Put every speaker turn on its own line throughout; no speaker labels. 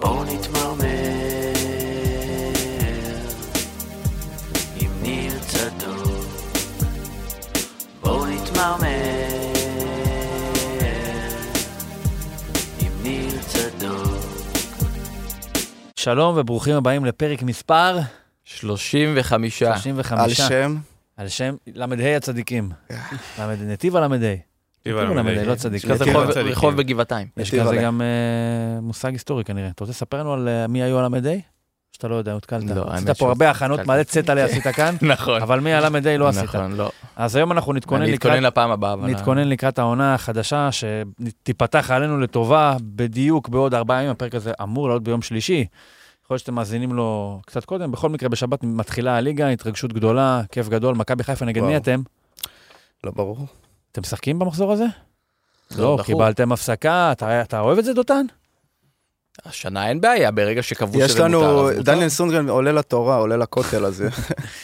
בואו נתמרמר עם ניר צדוק בואו נתמרמר עם ניר צדוק
שלום וברוכים הבאים לפרק מספר
אה, 35.
35.
על שם,
על שם ל"ה הצדיקים.
אה.
למד- נתיב הל"ה. נתיב הל"ה, לא צדיק.
יש כזה
כן,
רחוב-
הצדיקים.
רחוב בגבעתיים.
יש
נתיב
כזה
הל"ה.
גם אה, מושג היסטורי כנראה. אתה רוצה לספר לנו על אה, מי היו הל"ה? שאתה לא יודע, הותקלת.
לא,
עשית
האמת
פה
שלא.
הרבה הכנות,
התקלתי.
מלא צטלה עשית כאן,
נכון.
אבל מי הל"ה לא עשית.
נכון, לא.
אז היום אנחנו נתכונן
אני
לקראת...
אתכונן לפעם הבאה. אבל-
נתכונן לקראת העונה החדשה שתיפתח עלינו לטובה בדיוק בעוד ארבעה ימים, הפרק הזה אמור לעלות ביום שלישי. יכול להיות שאתם מאזינים לו קצת קודם, בכל מקרה בשבת מתחילה הליגה, התרגשות גדולה, כיף גדול, מכבי חיפה נגד מי
וואו.
אתם?
לא ברור.
אתם משחקים במחזור הזה?
לא,
לא,
דחו.
קיבלתם הפסקה, אתה אתה אוהב את זה דותן?
השנה אין בעיה, ברגע שקבעו שזה מותר.
יש לנו,
אז מותר.
דניאל סונגרן עולה לתורה, עולה לכותל, אז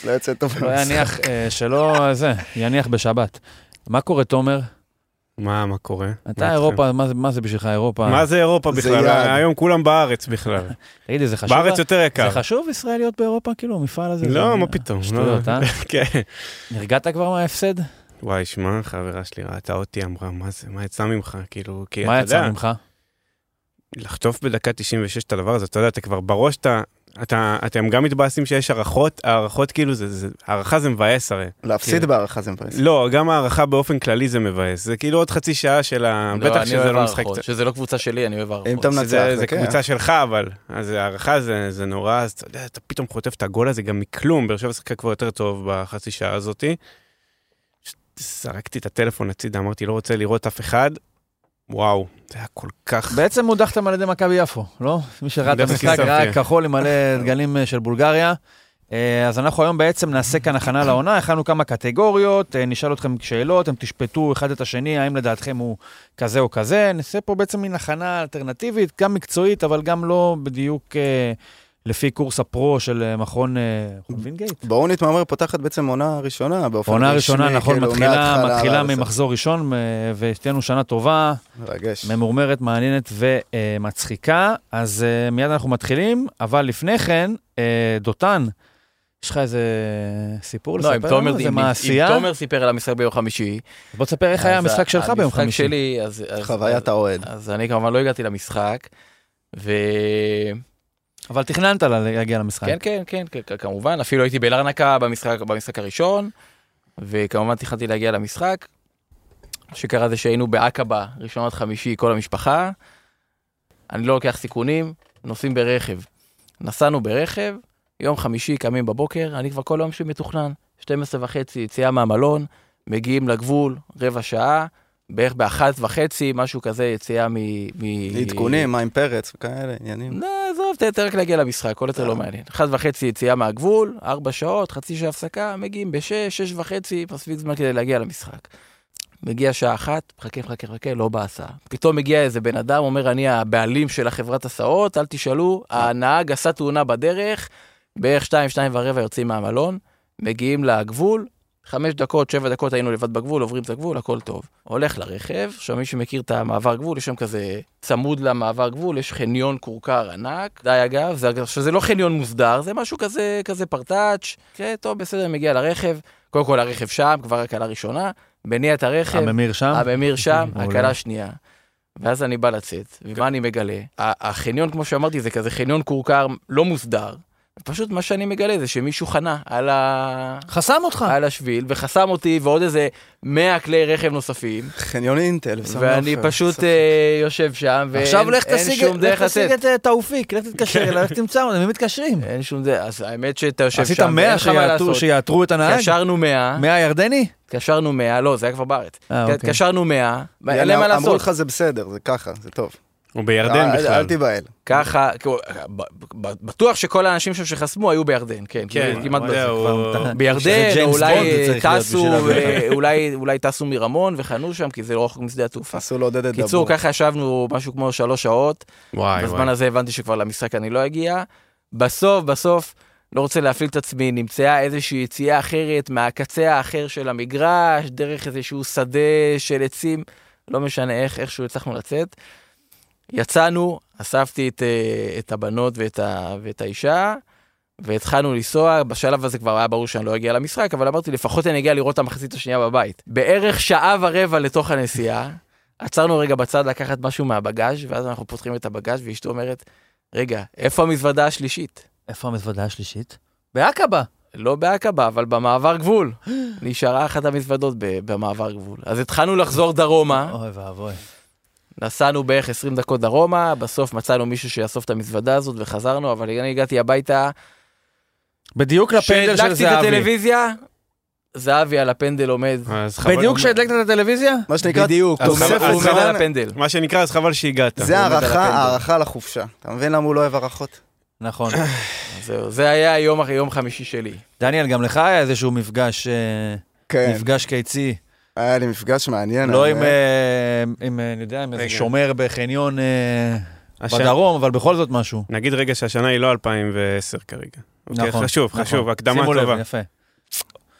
לא יוצא טוב.
לא יניח, אה, שלא, זה, יניח בשבת. מה קורה, תומר?
מה, מה קורה?
אתה אירופה, מה זה- מה זה בשבילך אירופה?
מה זה אירופה
זה
בכלל?
יעד.
היום כולם בארץ בכלל.
תגיד לי, זה חשוב?
בארץ יותר יקר.
זה חשוב ישראל להיות באירופה? כאילו, המפעל הזה?
לא,
זה-
מה פתאום.
שטויות,
לא.
אה?
כן.
נרגעת כבר מההפסד?
וואי, שמע, חברה שלי ראתה אותי, אמרה, מה זה, מה יצא ממך? כאילו, כי
מה
אתה יודע,
יצא ממך?
לחטוף בדקה 96 את הדבר הזה, אתה יודע, אתה כבר בראש, אתה... אתה, אתם גם מתבאסים שיש הערכות, הערכות כאילו, זה, זה, הערכה זה מבאס הרי.
להפסיד בהערכה זה מבאס.
לא, גם הערכה באופן כללי זה מבאס. זה כאילו עוד חצי שעה של ה...
לא,
בטח
אני
שזה
אוהב
לא משחק...
הערכות. שזה לא קבוצה שלי, אני אוהב
אם
הערכות.
אתה מנצח,
זה, זה
כן.
קבוצה שלך, אבל. אז הערכה זה, זה נורא, אז אתה יודע, אתה פתאום חוטף את הגול הזה גם מכלום. באר שבע שיחקה כבר יותר טוב בחצי שעה הזאתי. פשוט זרקתי את הטלפון הצידה, אמרתי, לא רוצה לראות אף אחד. וואו, זה היה כל כך...
בעצם הודחתם על ידי מכבי יפו, לא? מי שראה את
דרך
המשחק ראה
קיסריה.
כחול עם מלא דגלים אה, של בולגריה. אה, אז אנחנו היום בעצם נעשה כאן הכנה לעונה, הכנו כמה קטגוריות, אה, נשאל אתכם שאלות, אתם תשפטו אחד את השני, האם לדעתכם הוא כזה או כזה. נעשה פה בעצם מין הכנה אלטרנטיבית, גם מקצועית, אבל גם לא בדיוק אה, לפי קורס הפרו של אה, מכון אה, מכון וינגייט.
בואו נתמרמר פותחת בעצם עונה ראשונה באופן רשמי.
עונה ראשונה, נכון,
כאילו,
מתחילה,
מההתחלה
מתחילה
לזה.
ממחזור ראשון, אה, ושתהיה לנו שנה טובה.
מרגש.
ממורמרת, מעניינת ומצחיקה. אז אה, מיד אנחנו מתחילים, אבל לפני כן, אה, דותן, יש לך איזה סיפור
לא, אם
לספר
תומר
לנו? איזה
אם-
מעשייה?
אם תומר סיפר על המשחק ביום חמישי.
בוא תספר איך היה
אז
המשחק
ה-
שלך ביום
המשחק
חמישי.
שלי, אז... אז-
חוויית האוהד.
אז אני כמובן לא הגעתי למשחק, ו...
אבל תכננת לה- להגיע למשחק.
כן, כן, כן, כ- כ- כמובן, אפילו הייתי באלרנקה במשחק, במשחק הראשון, וכמובן תכננתי להגיע למשחק. מה שקרה זה שהיינו בעקבה, ראשון עד חמישי, כל המשפחה. אני לא לוקח סיכונים, נוסעים ברכב. נסענו ברכב, יום חמישי קמים בבוקר, אני כבר כל יום שלי מתוכנן, 12 וחצי יציאה מהמלון, מגיעים לגבול, רבע שעה, בערך באחת וחצי, משהו כזה, יציאה מ... מ-
עדכונים, מה עם פרץ וכאלה, עניינים.
לא, עזוב, ת- תן רק להגיע למשחק, כל יותר לא מעניין. אחת וחצי יציאה מהגבול, ארבע שעות, חצי שעה הפסקה, מגיעים בשש, שש וחצי, מספיק זמן כדי להגיע למשחק. מגיע שעה אחת, מחכה, מחכה, מחכה, לא בהסעה. פתאום מגיע איזה בן אדם, אומר, אני הבעלים של החברת הסעות, אל תשאלו, הנהג עשה תאונה בדרך, בערך שתיים, שתיים ורבע יוצאים מהמלון, מגיעים לגבול, חמש דקות, שבע דקות היינו לבד בגבול, עוברים את הגבול, הכל טוב. הולך לרכב, עכשיו מי שמכיר את המעבר גבול, יש שם כזה צמוד למעבר גבול, יש חניון כורכר ענק, די אגב, זה, עכשיו זה לא חניון מוסדר, זה משהו כזה, כזה פרטאץ', כן, טוב, בסדר, מגיע לרכב, קודם כל הרכב שם, כבר הקלה ראשונה, מניע את הרכב,
הממיר שם? אוקיי,
הממיר שם,
מעולה. אוקיי.
הקלה שנייה. ואז אני בא לצאת, ומה אני מגלה? ה- החניון, כמו שאמרתי, זה כזה חניון כורכר לא מוסדר. פשוט מה שאני מגלה זה שמישהו חנה על, ה...
חסם אותך.
על השביל, וחסם אותי ועוד איזה 100 כלי רכב נופים,
חניון אינטל, בסדר.
ואני פשוט אה, יושב שם, ואין
לא עכשיו לך
אין
תשיג
שום דרך כן.
לך תשיג
לצאת.
את אה, תאופיק, לך תתקשר אליו, לך תמצא אותם, הם מתקשרים.
אין שום דרך, אז האמת שאתה יושב
עשית
אה, שם, ואין
100
לך מה לעשות.
שיעתרו את הנהג?
התקשרנו 100,
100 ירדני?
התקשרנו 100, לא, זה היה כבר בארץ.
אה, אוקיי.
התקשרנו 100, אין
יאללה,
להם מה
אמרו
לעשות.
לך זה בסדר, זה ככה, זה טוב.
הוא בירדן
אל-
בכלל.
אל תיבהל.
ככה, כאילו, ב- ב- בטוח שכל האנשים שם שחסמו היו בירדן, כן, כאילו, כמעט
אתה יודע,
בטוח.
הוא-
כבר- שזה
בירדן,
ג'יימס בונד
אולי
זה
אה,
צריך להיות
טסו,
בשביל להבין.
אה, אולי- אולי טסו מרמון וחנו שם, כי זה לא רחוק משדה התעופה.
עשו לעודד את
קיצור, ככה ישבנו משהו כמו שלוש שעות,
וואי,
בזמן
וואי.
הזה הבנתי שכבר למשחק אני לא אגיע. בסוף, בסוף, לא רוצה להפעיל את עצמי, נמצאה איזושהי יציאה אחרת מהקצה האחר של המגרש, דרך איזשהו שדה של עצים, לא משנה איך, איכשהו הצלחנו לצאת. יצאנו, אספתי את, אה, את הבנות ואת, ה, ואת האישה, והתחלנו לנסוע, בשלב הזה כבר היה ברור שאני לא אגיע למשחק, אבל אמרתי, לפחות אני אגיע לראות את המחצית השנייה בבית. בערך שעה ורבע לתוך הנסיעה, עצרנו רגע בצד לקחת משהו מהבגאז', ואז אנחנו פותחים את הבגאז', ואשתו אומרת, רגע, איפה המזוודה השלישית?
איפה המזוודה השלישית? בעקבה.
לא בעקבה, אבל במעבר גבול. נשארה אחת המזוודות ב- במעבר גבול. אז התחלנו לחזור דרומה,
אוי ואבוי.
נסענו בערך 20 דקות דרומה, בסוף מצאנו מישהו שיאסוף את המזוודה הזאת וחזרנו, אבל אני הגעתי הביתה,
בדיוק לפנדל של
כשהדלקתי את
זהבי. אה,
הטלוויזיה, זהבי על הפנדל עומד.
אז חבל-
בדיוק כשהדלקת את הטלוויזיה?
מה שנקרא,
בדיוק, הוא
אז
עומד-
חבל-
הוא עומד על
חבל-
הפנדל.
מה שנקרא, אז חבל שהגעת.
זה
עומד על
הערכה,
הפנדל.
הערכה לחופשה. אתה מבין למה הוא לא אוהב הערכות?
נכון.
זהו, זה היה היום אחרי יום חמישי שלי.
דניאל, גם לך היה איזשהו מפגש, אה,
כן.
מפגש קיצי.
היה לי מפגש מעניין.
לא
האמת.
עם, אה, עם, אה, אני יודע, עם איזה
רגע.
שומר בחניון אה,
הש-
בדרום, אבל בכל זאת משהו.
נגיד רגע שהשנה היא לא 2010 כרגע. אוקיי,
נכון,
חשוב, חשוב,
נכון.
הקדמה
שימו לב,
טובה.
יפה.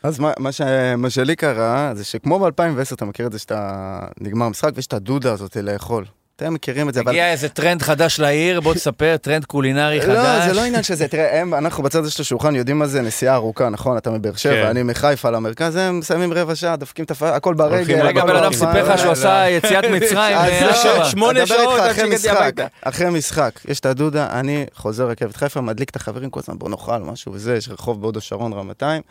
אז מה, מה, ש, מה שלי קרה, זה שכמו ב-2010, אתה מכיר את זה שאתה נגמר המשחק ויש את הדודה הזאת לאכול. אתם מכירים את זה, אבל...
הגיע איזה טרנד חדש לעיר, בוא תספר, טרנד קולינרי חדש.
לא, זה לא עניין של זה, תראה, הם, אנחנו בצד הזה של השולחן יודעים מה זה נסיעה ארוכה, נכון? אתה מבאר שבע,
כן.
אני מחיפה למרכז, הם שמים רבע שעה, דופקים את הפ... הכל
הולכים
ברגל.
רגע,
הכל
בן אדם
ברגל.
סיפר לך שהוא
לא,
עשה יציאת מצרים.
אז
אה,
לא,
אשכרה.
ש- שמונה
אני מדבר
שעות
איתך
עד
אחרי
שהגעתי
משחק,
הביתה.
אחרי משחק, יש את הדודה, אני חוזר רכבת חיפה, מדליק את החברים כל הזמן, בוא נאכל משהו וזה, יש רחוב בהוד השרון, רמתיים.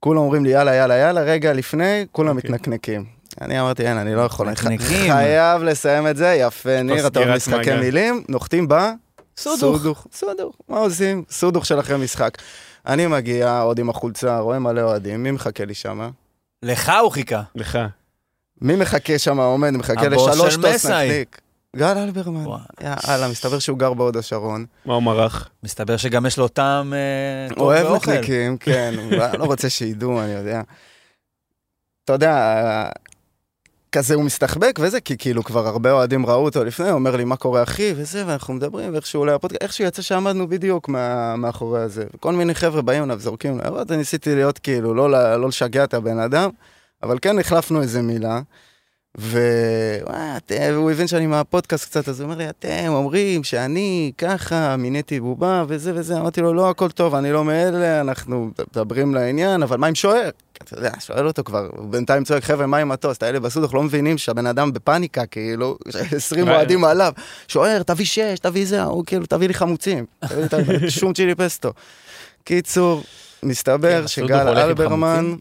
כולם אומרים לי יאללה, יאללה, יאללה, רגע לפני, כולם מתנקנקים. אני אמרתי, אין, אני לא יכול, אני ח-
מתנקנקים.
חייב לסיים את זה, יפה, ניר, אתה אוהב
סגירת
משחקי
מעגל.
מילים, נוחתים ב...
סודוך.
סודוך, סודוך, מה עושים? סודוך של אחרי משחק. אני מגיע עוד עם החולצה, רואה מלא אוהדים, מי מחכה לי שמה?
לך הוא חיכה.
לך.
מי מחכה שם עומד, מחכה
הבוס
לשלוש
של
טוס
מסאי.
נקניק? גל אלברמן.
וואי.
יאללה, מסתבר שהוא גר בהוד השרון.
מה הוא מרח?
מסתבר שגם יש לו טעם אה, טוב
אוהב
באוכל.
נקניקים, כן, הוא לא רוצה שידעו, אני יודע. אתה יודע, כזה הוא מסתחבק וזה, כי כאילו כבר הרבה אוהדים ראו אותו לפני, הוא אומר לי, מה קורה אחי, וזה, ואנחנו מדברים, ואיך שהוא עולה הפודקאסט, איך שהוא יצא שעמדנו בדיוק מה, מאחורי הזה. כל מיני חבר'ה באים אליו, זורקים לו, הערות, אני ניסיתי להיות כאילו, לא, ל- לא לשגע את הבן אדם, אבל כן החלפנו איזה מילה. ו- וואה, אתם- והוא הבין שאני מהפודקאסט קצת, אז הוא אומר לי, אתם אומרים שאני ככה מיניתי בובה וזה וזה, אמרתי לו, לא, הכל טוב, אני לא מאלה, אנחנו מדברים לעניין, אבל מה עם שוער? אתה יודע, שואל אותו כבר, הוא בינתיים צועק, חבר'ה, מה עם מטוס? האלה בסודוך לא מבינים שהבן אדם בפאניקה, כאילו, 20
מה-
אוהדים עליו, שוער, תביא שש, תביא זה, הוא כאילו, תביא לי חמוצים, תביא לי את שום צ'ילי פסטו. קיצור,
כן,
מסתבר
הסודוך הולך
שגל
עם
אלברמן
חמוצים?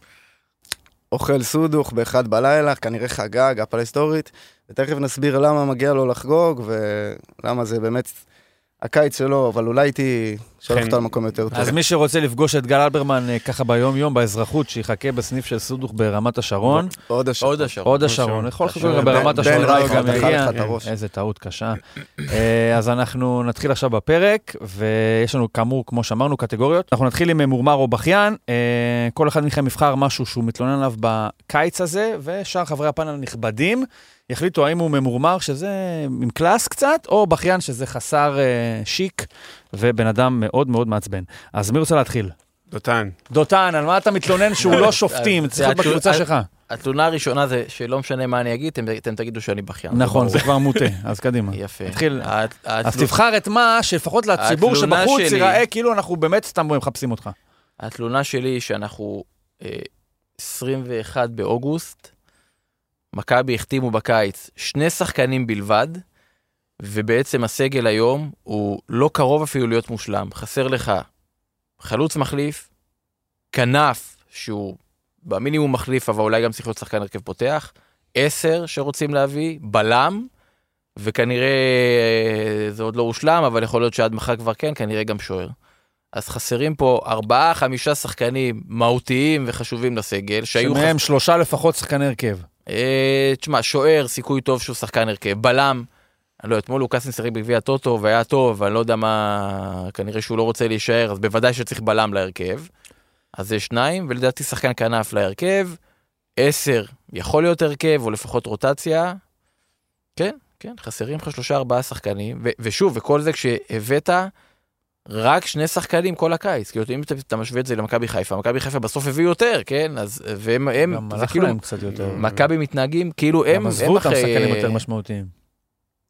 אוכל סודוך באחד בלילה, כנראה חגג, הפלסטורית, ותכף נסביר למה מגיע לו לחגוג, ולמה זה באמת הקיץ שלו, אבל אולי הייתי שולח
כן.
חן.
אותו למקום יותר טוב.
אז מי שרוצה לפגוש את גל אלברמן אה, ככה ביום-יום, באזרחות, שיחכה בסניף של סודוך ברמת השרון.
עוד השעה.
עוד השעון.
הוד השרון,
השרון.
יכול לחשוב
השרון.
גם ברמת
בן
השרון, אולי
רייכרד
גם
אכל
יגיע.
לך את הראש.
איזה טעות קשה. אה, אז אנחנו נתחיל עכשיו בפרק, ויש לנו כאמור, כמו שאמרנו, קטגוריות. אנחנו נתחיל עם מורמר או בכיין. אה, כל אחד מכם יבחר משהו שהוא מתלונן עליו בקיץ הזה, ושאר חברי הפאנל הנכבדים יחליטו האם הוא ממורמר, שזה עם קלאס קצת, או בכיין, שזה חסר אה, שיק ובן אדם מאוד מאוד מעצבן. אז מי רוצה להתחיל?
דותן.
דותן, על מה אתה מתלונן שהוא לא שופטים? צריך להיות בקבוצה שלך.
אה,
התלונה הראשונה זה שלא משנה מה אני אגיד, אתם- אתם תגידו שאני בכיין.
נכון,
ברור.
זה כבר מוטה, אז קדימה.
יפה.
תתחיל.
הת-
אז
התלונה-
תבחר את מה שלפחות לציבור
לא- התלונה
שבחוץ
שלי-
ייראה כאילו אנחנו באמת סתם מחפשים אותך.
התלונה שלי היא שאנחנו אה, 21 באוגוסט, מכבי החתימו בקיץ שני שחקנים בלבד, ובעצם הסגל היום הוא לא קרוב אפילו להיות מושלם. חסר לך חלוץ מחליף, כנף שהוא במינימום מחליף, אבל אולי גם צריך להיות שחקן הרכב פותח, עשר שרוצים להביא, בלם, וכנראה אה, זה עוד לא הושלם, אבל יכול להיות שעד מחר כבר כן, כנראה גם שוער. אז חסרים פה ארבעה, חמישה שחקנים מהותיים וחשובים לסגל, שהיו...
שמהם שלושה לפחות שחקני הרכב.
אה, תשמע, שוער, סיכוי טוב שהוא שחקן הרכב. בלם, אני לא, אתמול לוקאסן שיחק בגביע הטוטו והיה טוב, אני לא יודע מה, כנראה שהוא לא רוצה להישאר, אז בוודאי שצריך בלם להרכב. אז זה שניים, ולדעתי שחקן כנף להרכב. עשר, יכול להיות הרכב, או לפחות רוטציה. כן, כן, חסרים לך שלושה ארבעה שחקנים, ו- ושוב, וכל זה כשהבאת רק שני שחקנים כל הקיץ, כאילו אם אתה, אתה משווה את זה למכבי חיפה, מכבי חיפה בסוף הביאו יותר, כן, אז, והם, הם,
גם
זה
הלך
כאילו,
להם קצת יותר.
הם
מכבי מתנהגים כאילו הם,
גם עזבו
הם
אותם
אחרי...
שחקנים יותר משמעותיים.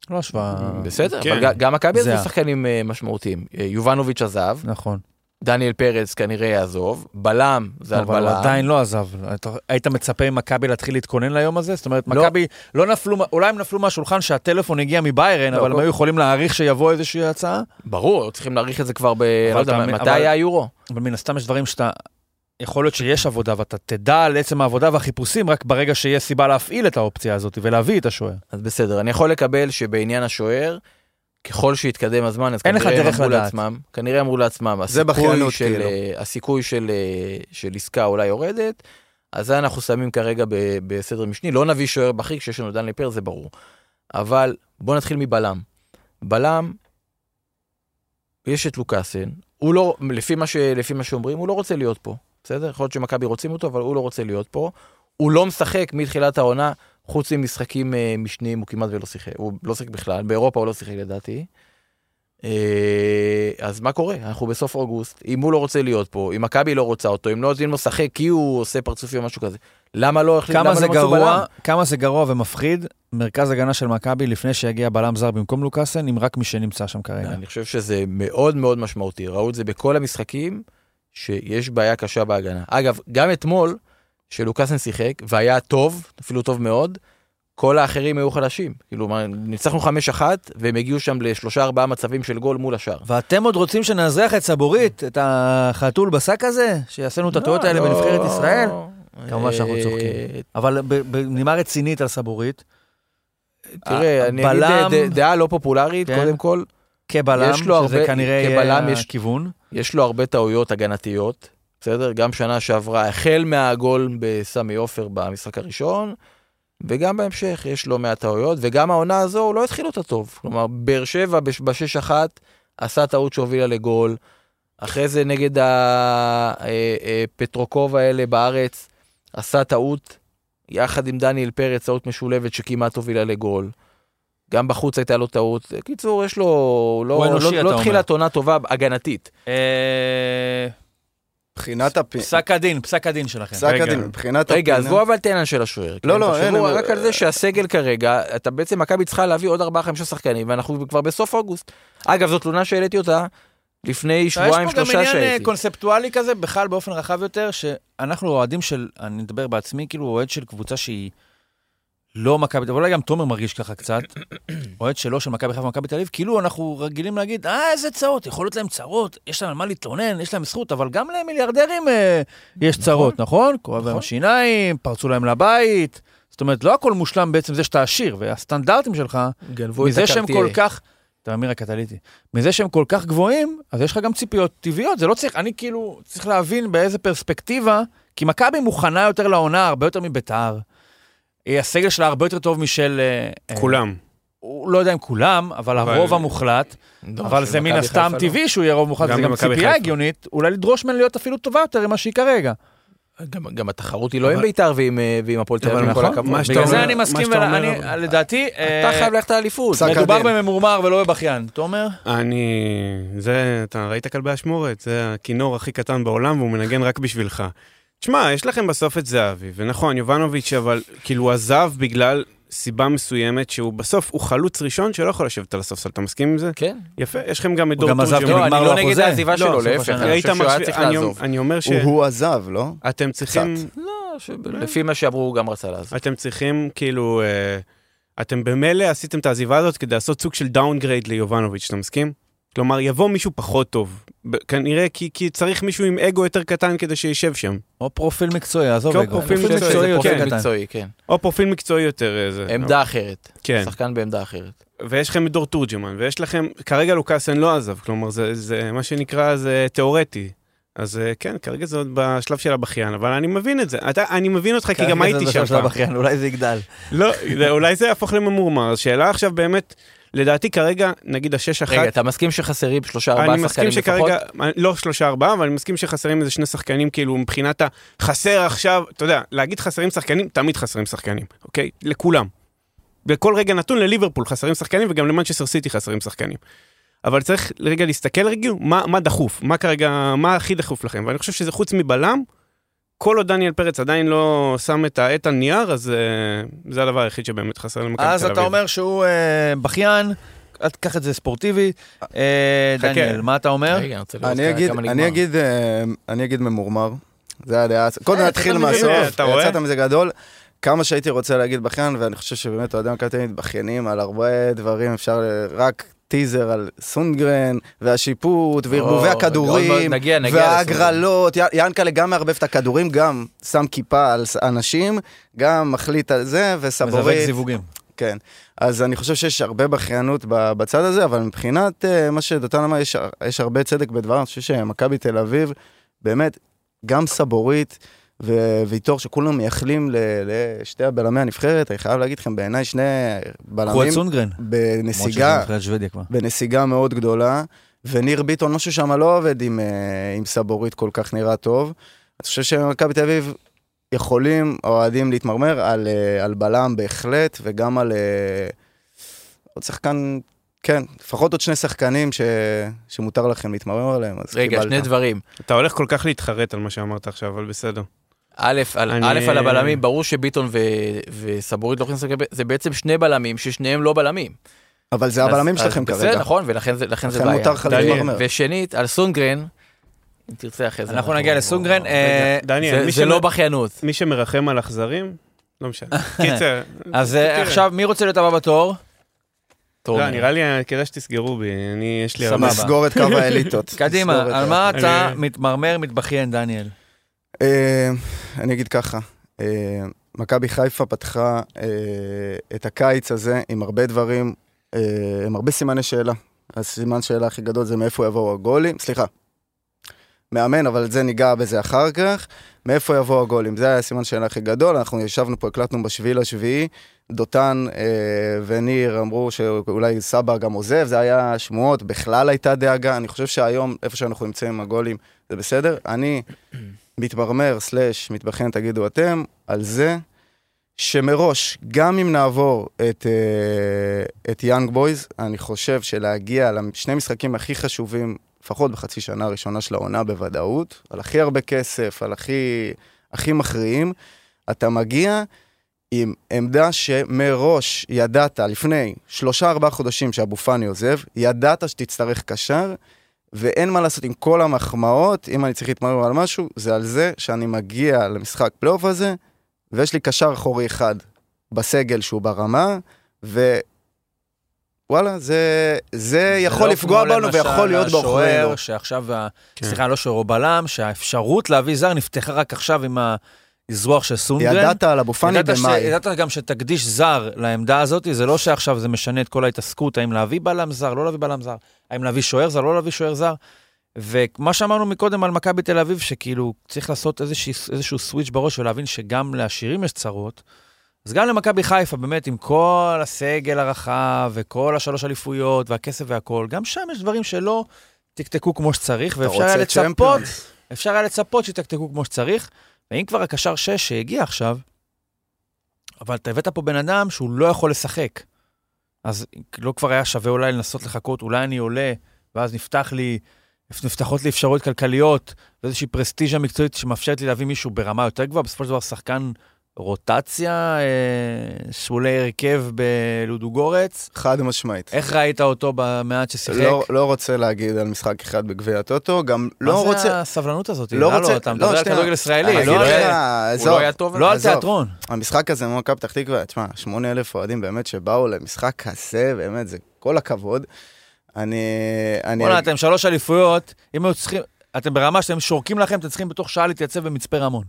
לא השוואה.
בסדר, אבל
כן.
ג- גם מכבי
זה
עזבו
ה-
שחקנים אה, משמעותיים. אה, יובנוביץ' עזב,
נכון.
דניאל פרץ כנראה יעזוב, בלם זה על
אבל הוא
בלם.
עדיין לא עזב. אתה- היית מצפה ממכבי להתחיל להתכונן ליום הזה? זאת אומרת,
לא.
מכבי לא נפלו, אולי הם נפלו מהשולחן שהטלפון הגיע מביירן,
לא,
אבל הם
לא.
היו יכולים להעריך שיבוא איזושהי הצעה?
ברור, צריכים להעריך את זה כבר ב... לא יודע,
אתה- אבל-
מתי היה היורו?
אבל מן הסתם יש דברים שאתה... יכול להיות שיש עבודה ואתה תדע על עצם העבודה והחיפושים רק ברגע שיש סיבה להפעיל את האופציה הזאת ולהביא את השוער.
אז בסדר, אני יכול לקבל שבעניין השוער, ככל שיתקדם הזמן, אז
אין לך
כנראה הם
דרך
אמרו
לדעת.
לעצמם, כנראה אמרו לעצמם,
זה
הסיכוי
בכיינות,
של,
כאילו.
אה, הסיכוי של, אה, של עסקה אולי יורדת, אז זה אנחנו שמים כרגע ב- בסדר משני, לא נביא שוער בכיר כשיש לנו דן לפר, זה ברור. אבל בוא נתחיל מבלם. בלם, יש את לוקאסן, הוא לא, לפי מה, ש, לפי מה שאומרים, הוא לא רוצה להיות פה, בסדר? יכול להיות שמכבי רוצים אותו, אבל הוא לא רוצה להיות פה. הוא לא משחק מתחילת העונה, חוץ ממשחקים אה, משניים, הוא כמעט ולא שיחק, הוא לא שיחק בכלל, באירופה הוא לא שיחק לדעתי. אה, אז מה קורה? אנחנו בסוף אוגוסט, אם הוא לא רוצה להיות פה, אם מכבי לא רוצה אותו, אם לא נותנים לו לשחק כי הוא עושה פרצופים או משהו כזה, למה לא החליט,
כמה
למה
זה
לא מצאו בלם?
גרוע, כמה זה גרוע ומפחיד, מרכז הגנה של מכבי לפני שיגיע בלם זר במקום לוקאסן, אם רק מי שנמצא שם כרגע.
אני חושב שזה מאוד מאוד משמעותי, ראו את זה בכל המשחקים, שיש בעיה קשה בהגנה. אגב, גם אתמול, שלוקאסן שיחק, והיה טוב, אפילו טוב מאוד, כל האחרים היו חלשים. כאילו, מה, ניצחנו 5-1, והם הגיעו שם לשלושה ארבעה מצבים של גול מול השאר.
ואתם עוד רוצים שנאזרח את סבורית, את החתול בשק הזה, שיעשינו את הטעויות האלה
לא,
בנבחרת
לא.
ישראל? כמובן
אה,
שאנחנו צוחקים. אבל ב- בנימה רצינית על סבורית,
תראה, אני
הבלם-
אגיד ד- דעה לא פופולרית,
כן.
קודם כל,
כבלם,
יש לו
שזה
הרבה-
כנראה
כבלם
יהיה
יש-
הכיוון.
יש לו הרבה טעויות הגנתיות, בסדר? גם שנה שעברה, החל מהגול בסמי עופר במשחק הראשון, וגם בהמשך יש לו מעט טעויות, וגם העונה הזו הוא לא התחיל אותה טוב. כלומר, באר שבע בש- בשש אחת עשה טעות שהובילה לגול, אחרי זה נגד הפטרוקוב האלה בארץ עשה טעות, יחד עם דניאל פרץ, טעות משולבת שכמעט הובילה לגול. גם בחוץ הייתה לו טעות. קיצור, יש לו... הוא לא,
הוא אנושי,
לא,
אתה
לא
אומר.
תחילת עונה טובה הגנתית.
אה,
מבחינת הפינה.
פסק הדין, פסק הדין שלכם.
פסק
רגע.
הדין, מבחינת הפינה.
רגע, עזבו אבל את העניין של השוער.
לא, לא,
אין.
אין,
כן, תחשבו
הם-
רק על זה שהסגל כרגע, אתה בעצם, מכבי צריכה להביא עוד 4-5 שחקנים, ואנחנו כבר בסוף אוגוסט. אגב, זו תלונה שהעליתי אותה לפני שבועיים,
יש פה גם
שלושה
עניין אה,
שהייתי.
קונספטואלי כזה, בכלל באופן רחב יותר, שאנחנו אוהדים של, אני מדבר בעצמי, כאילו אוהד של קבוצה שהיא לא מכבי, אבל אולי גם תומר מרגיש ככה קצת, אוהד שלא של מכבי חיפה ומכבי תל אביב, כאילו אנחנו רגילים להגיד, אה, איזה צרות, יכול להיות להם צרות, יש להם על מה להתלונן, יש להם זכות, אבל גם למיליארדרים אה, יש צרות, נכון? כואב להם השיניים, פרצו להם לבית. זאת אומרת, לא הכל מושלם בעצם זה שאתה עשיר, והסטנדרטים שלך,
גנבו את
מזה שהם
הקרטייה.
כל כך, תאמיר הקטליטי, מזה שהם כל כך גבוהים, אז יש לך גם ציפיות טבעיות, זה לא צריך, אני כאילו צריך להבין באיזה פרספקטיבה, כי מכבי מוכנה יותר לעונה הרבה יותר מביתר. אה, הסגל שלה הרבה יותר טוב משל, אה, אה,
כולם.
הוא לא יודע אם כולם, אבל
אבל-
הרוב המוחלט,
לא,
אבל
של
זה מן
מכבי
הסתם
חיפה לא.
טבעי שהוא יהיה רוב מוחלט,
גם
זה גם
במכבי
ציפייה
חיפה.
הגיונית, אולי לדרוש ממנו להיות אפילו טובה יותר ממה שהיא כרגע.
גם- גם התחרות היא לא עם בית"ר ועם אה, ועם הפועל תל אביב, עם כל
נכון,
הכבוד.
מה שאתה
בגלל זה
אומר-
אני
מה
מסכים,
שאתה אומר,
ואני-
אבל-
לדעתי,
אתה
אה,
חייב ללכת לאליפות.
פסק
מדובר
הדין.
בממורמר ולא בבכיין. תומר?
אני... זה, אתה ראית כלבי אשמורת? זה הכינור הכי קטן בעולם והוא מנגן רק בשבילך. תשמע, יש לכם בסוף את זהבי, ונכון, יובנוביץ', אבל כאילו הוא עזב בגלל סיבה מסוימת שהוא בסוף, הוא חלוץ ראשון שלא יכול לשבת על הספסל, אתה מסכים עם זה?
כן.
יפה, יש לכם גם את
הוא
דור
גם עזב
תורג'מן.
כי נגמר
לא, אני
לו
לא נגד
החוזה.
העזיבה
לא,
שלו,
סוף
להפך,
השנה.
אני
היית
חושב שהוא היה צריך
משווה, אני,
לעזוב.
אני אומר ש...
הוא- הוא עזב, לא?
אתם צריכים,
לא, ש- לפי מה שאמרו, הוא גם רצה לעזוב.
אתם צריכים כאילו, אה, אתם במילא עשיתם את העזיבה הזאת כדי לעשות סוג של דאונגרייד ליובנוביץ', אתה מסכים? כלומר, יבוא מישהו פחות טוב, ב- כנראה כי, כי צריך מישהו עם אגו יותר קטן כדי שישב שם,
או פרופיל מקצועי, עזוב,
כן,
רגע.
פרופיל
אני חושב שזה
מקצועי,
פרופיל
כן.
מקצועי, כן.
או פרופיל מקצועי יותר איזה.
עמדה אחרת.
כן,
שחקן בעמדה אחרת.
ויש לכם את דור תורג'מן, ויש לכם, כרגע לוקאסן לא עזב, כלומר, זה, זה מה שנקרא, זה תיאורטי. אז אה, כן, כרגע זה עוד בשלב של הבכיין, אבל אני מבין את זה. אתה, אני מבין אותך, כי גם הייתי שם פעם.
כן,
אולי זה יגדל.
לא, זה- אולי זה יהפוך לממורמר. השאלה עכשיו באמת, לדעתי כרגע, נגיד השש אחת,
רגע, אתה מסכים שחסרים שלושה ארבעה
אני
שחקנים
מסכים
לפחות?
שכרגע, לא שלושה ארבעה, אבל אני מסכים שחסרים איזה שני שחקנים, כאילו מבחינת החסר עכשיו, אתה יודע, להגיד חסרים שחקנים, תמיד חסרים שחקנים, אוקיי? לכולם. בכל רגע נתון לליברפול חסרים שחקנים, וגם למנצ'סטר סיטי חסרים שחקנים. אבל צריך רגע להסתכל רגע, מה, מה דחוף, מה כרגע, מה הכי דחוף לכם, ואני חושב שזה חוץ מבלם, כל עוד דניאל פרץ עדיין לא שם את העט על נייר, אז אה, זה הדבר היחיד שבאמת חסר למכבי כן, תל אביב.
אז אתה אומר שהוא אה, בכיין, אל תיקח את זה ספורטיבי. אה,
חכה.
דניאל, מה אתה אומר?
רגע, אני רוצה לראות
אני אגיד,
כמה נגמר.
אני אגיד, אה, אני אגיד ממורמר. זה הדעה, קודם נתחיל
יצאת מזה-
מהסוף,
אה, אתה רואה?
יצאת מזה גדול. כמה שהייתי רוצה להגיד בכיין, ואני חושב שבאמת אוהדי מכבי תל אביב מתבכיינים על הרבה דברים, אפשר ל- רק טיזר על סונדגרן, והשיפוט, וערבובי
או, מאוד מאוד,
הכדורים,
נגיע, נגיע
וההגרלות. י- ינקלה גם מערבב את הכדורים, גם שם כיפה על ס- אנשים, גם מחליט על זה,
מזווק
וסבורית.
זיווגים.
כן. אז אני חושב שיש הרבה בכיינות ב- בצד הזה, אבל מבחינת אה, מה שדותן אמר, יש, יש הרבה צדק בדבר, אני חושב שמכבי תל אביב, באמת, גם סבורית ו- ויטור, שכולם מייחלים ל- לשתי הבלמי הנבחרת, אני חייב להגיד לכם, בעיניי שני
קחו את
בלמים
סונגרן. למרות שזה
בנסיגה,
מבחינת שוודיה כבר.
בנסיגה מאוד גדולה, וניר ביטון, משהו שם לא עובד עם, אה, עם סבורית כל כך נראה טוב. אני חושב שמכבי תל אביב יכולים, האוהדים, להתמרמר על, אה, על בלם בהחלט, וגם על אה, עוד שחקן, כן, לפחות עוד שני שחקנים ש, שמותר לכם להתמרמר עליהם, אז
רגע,
קיבלת.
שני דברים.
אתה הולך כל כך להתחרט על מה שאמרת עכשיו, אבל בסדר.
א', על,
אני-
א', על הבלמים, ברור שביטון ו, וסבורית לא יכולים לשחק, ב- זה בעצם שני בלמים ששניהם לא בלמים.
אבל זה הבלמים שלכם
בסדר,
כרגע.
נכון, ולכן זה, לכן זה
לכן
בעיה.
מותר לך
דניאל.
להתמרמר.
ושנית, על סונגרן, אם תרצה אחרי זה. לא,
אנחנו
לא-
נגיע לסונגרן. אה,
דניאל,
זה,
מי
זה
שמ-
לא בכיינות.
מי שמרחם על אכזרים, לא משנה. קיצר,
אז אה,
תראה.
עכשיו, מי רוצה להיות הבא בתור?
לא, נראה לי אה, כדאי שתסגרו בי, אני, יש לי
סבבה.
הרבה...
נסגור את קו האליטות.
קדימה,
נסגור את
על
ה-
מה אתה
אני-
מתמרמר, מתבכיין, דניאל?
אה, אני אגיד ככה, אה, מכבי חיפה פתחה אה, את הקיץ הזה עם הרבה דברים, אה, עם הרבה סימני שאלה. הסימן שאלה הכי גדול זה מאיפה יבואו הגולים, סליחה, מאמן, אבל את זה ניגע בזה אחר כך. מאיפה יבואו הגולים? זה היה הסימן שאלה הכי גדול, אנחנו ישבנו פה, הקלטנו בשביעי לשביעי, דותן אה, וניר אמרו שאולי סבא גם עוזב, זה היה שמועות, בכלל הייתה דאגה, אני חושב שהיום, איפה שאנחנו נמצאים עם הגולים, זה בסדר. אני מתמרמר, סלאש, מתבכיין, תגידו אתם, על זה שמראש, גם אם נעבור את, אה, את יאנג בויז, אני חושב שלהגיע לשני משחקים הכי חשובים, לפחות בחצי שנה הראשונה של העונה בוודאות, על הכי הרבה כסף, על הכי, הכי מכריעים, אתה מגיע עם עמדה שמראש ידעת לפני שלושה-ארבעה חודשים שאבו פאני עוזב, ידעת שתצטרך קשר, ואין מה לעשות עם כל המחמאות, אם אני צריך להתמרמר על משהו, זה על זה שאני מגיע למשחק פלייאוף הזה, ויש לי קשר אחורי אחד בסגל שהוא ברמה, ו... וואלה, זה, זה יכול
לא
לפגוע
כמו
בנו
למשל
ויכול להיות בעוכרינו.
השוער לא, שעכשיו, ה-
כן.
סליחה, לא שוער, הוא בלם, שהאפשרות להביא זר נפתחה רק עכשיו עם האזרוח של סונגרן.
ידעת על אבו פאני
ידעת ש-
במאי.
ידעת גם שתקדיש זר לעמדה הזאת, זה לא שעכשיו זה משנה את כל ההתעסקות, האם להביא בלם זר, לא להביא בלם זר, האם להביא שוער זר, לא להביא שוער זר. ומה שאמרנו מקודם על מכבי תל אביב, שכאילו צריך לעשות איזושהי, איזשהו סוויץ' בראש ולהבין שגם לעשירים יש צרות, אז גם למכבי חיפה, באמת, עם כל הסגל הרחב וכל השלוש אליפויות והכסף והכול, גם שם יש דברים שלא תקתקו כמו שצריך,
אתה
ואפשר היה
רוצה
לצפות,
צ'מפיונס?
אפשר היה לצפות שיתקתקו כמו שצריך, ואם כבר הקשר 6 שהגיע עכשיו, אבל אתה הבאת פה בן אדם שהוא לא יכול לשחק. אז לא כבר היה שווה אולי לנסות לחכות, אולי אני עולה, ואז נפתח לי, נפתחות לי אפשרויות כלכליות, ואיזושהי פרסטיז'ה מקצועית שמאפשרת לי להביא מישהו ברמה יותר גבוהה, בסופו של דבר שחקן רוטציה, אה, שולי הרכב בלודוגורץ.
חד משמעית.
איך ראית אותו במעט ששיחק?
לא, לא רוצה להגיד על משחק אחד בגביע הטוטו, גם לא
מה זה
רוצה...
הסבלנות הזאת?
לא
לא
רוצה-
רוצה, אתה
לא,
מדבר על
שנייה.
כדורגל ישראלי,
אני
לא
לא
על-
יודע,
הוא
עזוב.
לא היה טוב?
לא על
עזוב.
תיאטרון.
המשחק הזה מול מכבי פתח תקווה, תשמע, 8,000 אוהדים באמת שבאו למשחק כזה, באמת, זה כל הכבוד. אני... אני...
וואלה, אתם שלוש אליפויות, אם היו צריכים, אתם ברמה שאתם שורקים לכם, אתם צריכים בתוך שעה להתייצב במצפה רמון.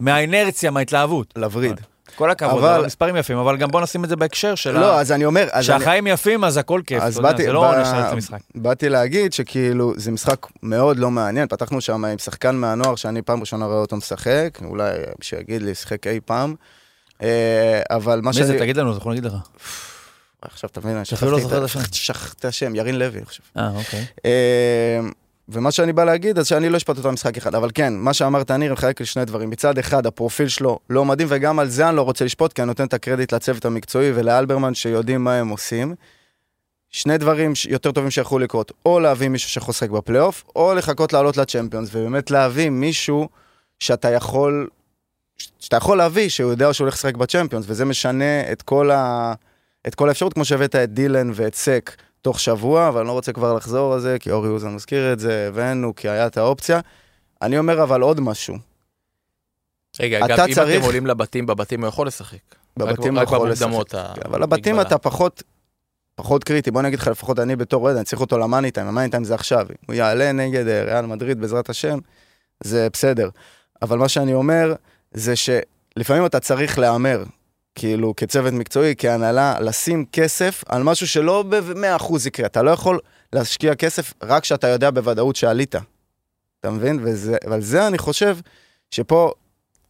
מהאינרציה, מההתלהבות.
לווריד.
כל הכבוד,
אבל-
אבל מספרים יפים, אבל גם בוא נשים את זה בהקשר של
לא,
ה...
אז אני אומר... אז אני-
שהחיים יפים, אז הכל כיף.
אז
אתה יודע,
באתי-
זה לא
בא-
עונש ללכת למשחק.
באתי להגיד שכאילו, זה משחק מאוד לא מעניין, פתחנו שם עם שחקן מהנוער שאני פעם ראשונה רואה אותו משחק, אולי שיגיד לי, שיחק אי פעם. אה, אבל מה
מי
שאני...
זה? תגיד לנו, אז אנחנו נגיד לך.
עכשיו תבין, אני
שאפילו לא
שכחתי
זוכר
את
את השם.
ה- שכחתי את השם, ירין לוי, אני חושב.
אה, אוקיי.
אה, ומה שאני בא להגיד, אז שאני לא אשפט אותו במשחק אחד, אבל כן, מה שאמרת, ניר, מחלק לשני דברים. מצד אחד, הפרופיל שלו לא מדהים, וגם על זה אני לא רוצה לשפוט, כי אני נותן את הקרדיט לצוות המקצועי ולאלברמן, שיודעים מה הם עושים. שני דברים ש- יותר טובים שיכולו לקרות, או להביא מישהו שחוסק בפלייאוף, או לחכות לעלות לצ'מפיונס, ובאמת להביא מישהו שאתה יכול, ש- שאתה יכול להביא, שהוא יודע שהוא הולך לשחק בצ'מפיונס, וזה משנה את כל, ה, את כל האפשרות, כמו שהבאת את דילן ואת סק תוך שבוע, אבל אני לא רוצה כבר לחזור על זה, כי אורי אוזן מזכיר את זה, הבאנו, כי היה את האופציה. אני אומר אבל עוד משהו,
רגע,
אתה
אגב, אם
צריך-
אתם עולים לבתים, בבתים הוא יכול לשחק.
בבתים
רק-
הוא יכול
רק
לשחק.
במוקדמות. ה-
כן, אבל הבתים
מגבלה.
אתה פחות, פחות קריטי. בוא נגיד לך, לפחות אני בתור אוהד, אני צריך אותו למאני טיים, המאני טיים זה עכשיו. הוא יעלה נגד אה, ריאל מדריד בעזרת השם, זה בסדר. אבל מה שאני אומר, זה שלפעמים אתה צריך להמר, כאילו, כצוות מקצועי, כהנהלה, לשים כסף על משהו שלא ב-100% יקרה. אתה לא יכול להשקיע כסף רק כשאתה יודע בוודאות שעלית. אתה מבין? וזה, ועל זה אני חושב שפה,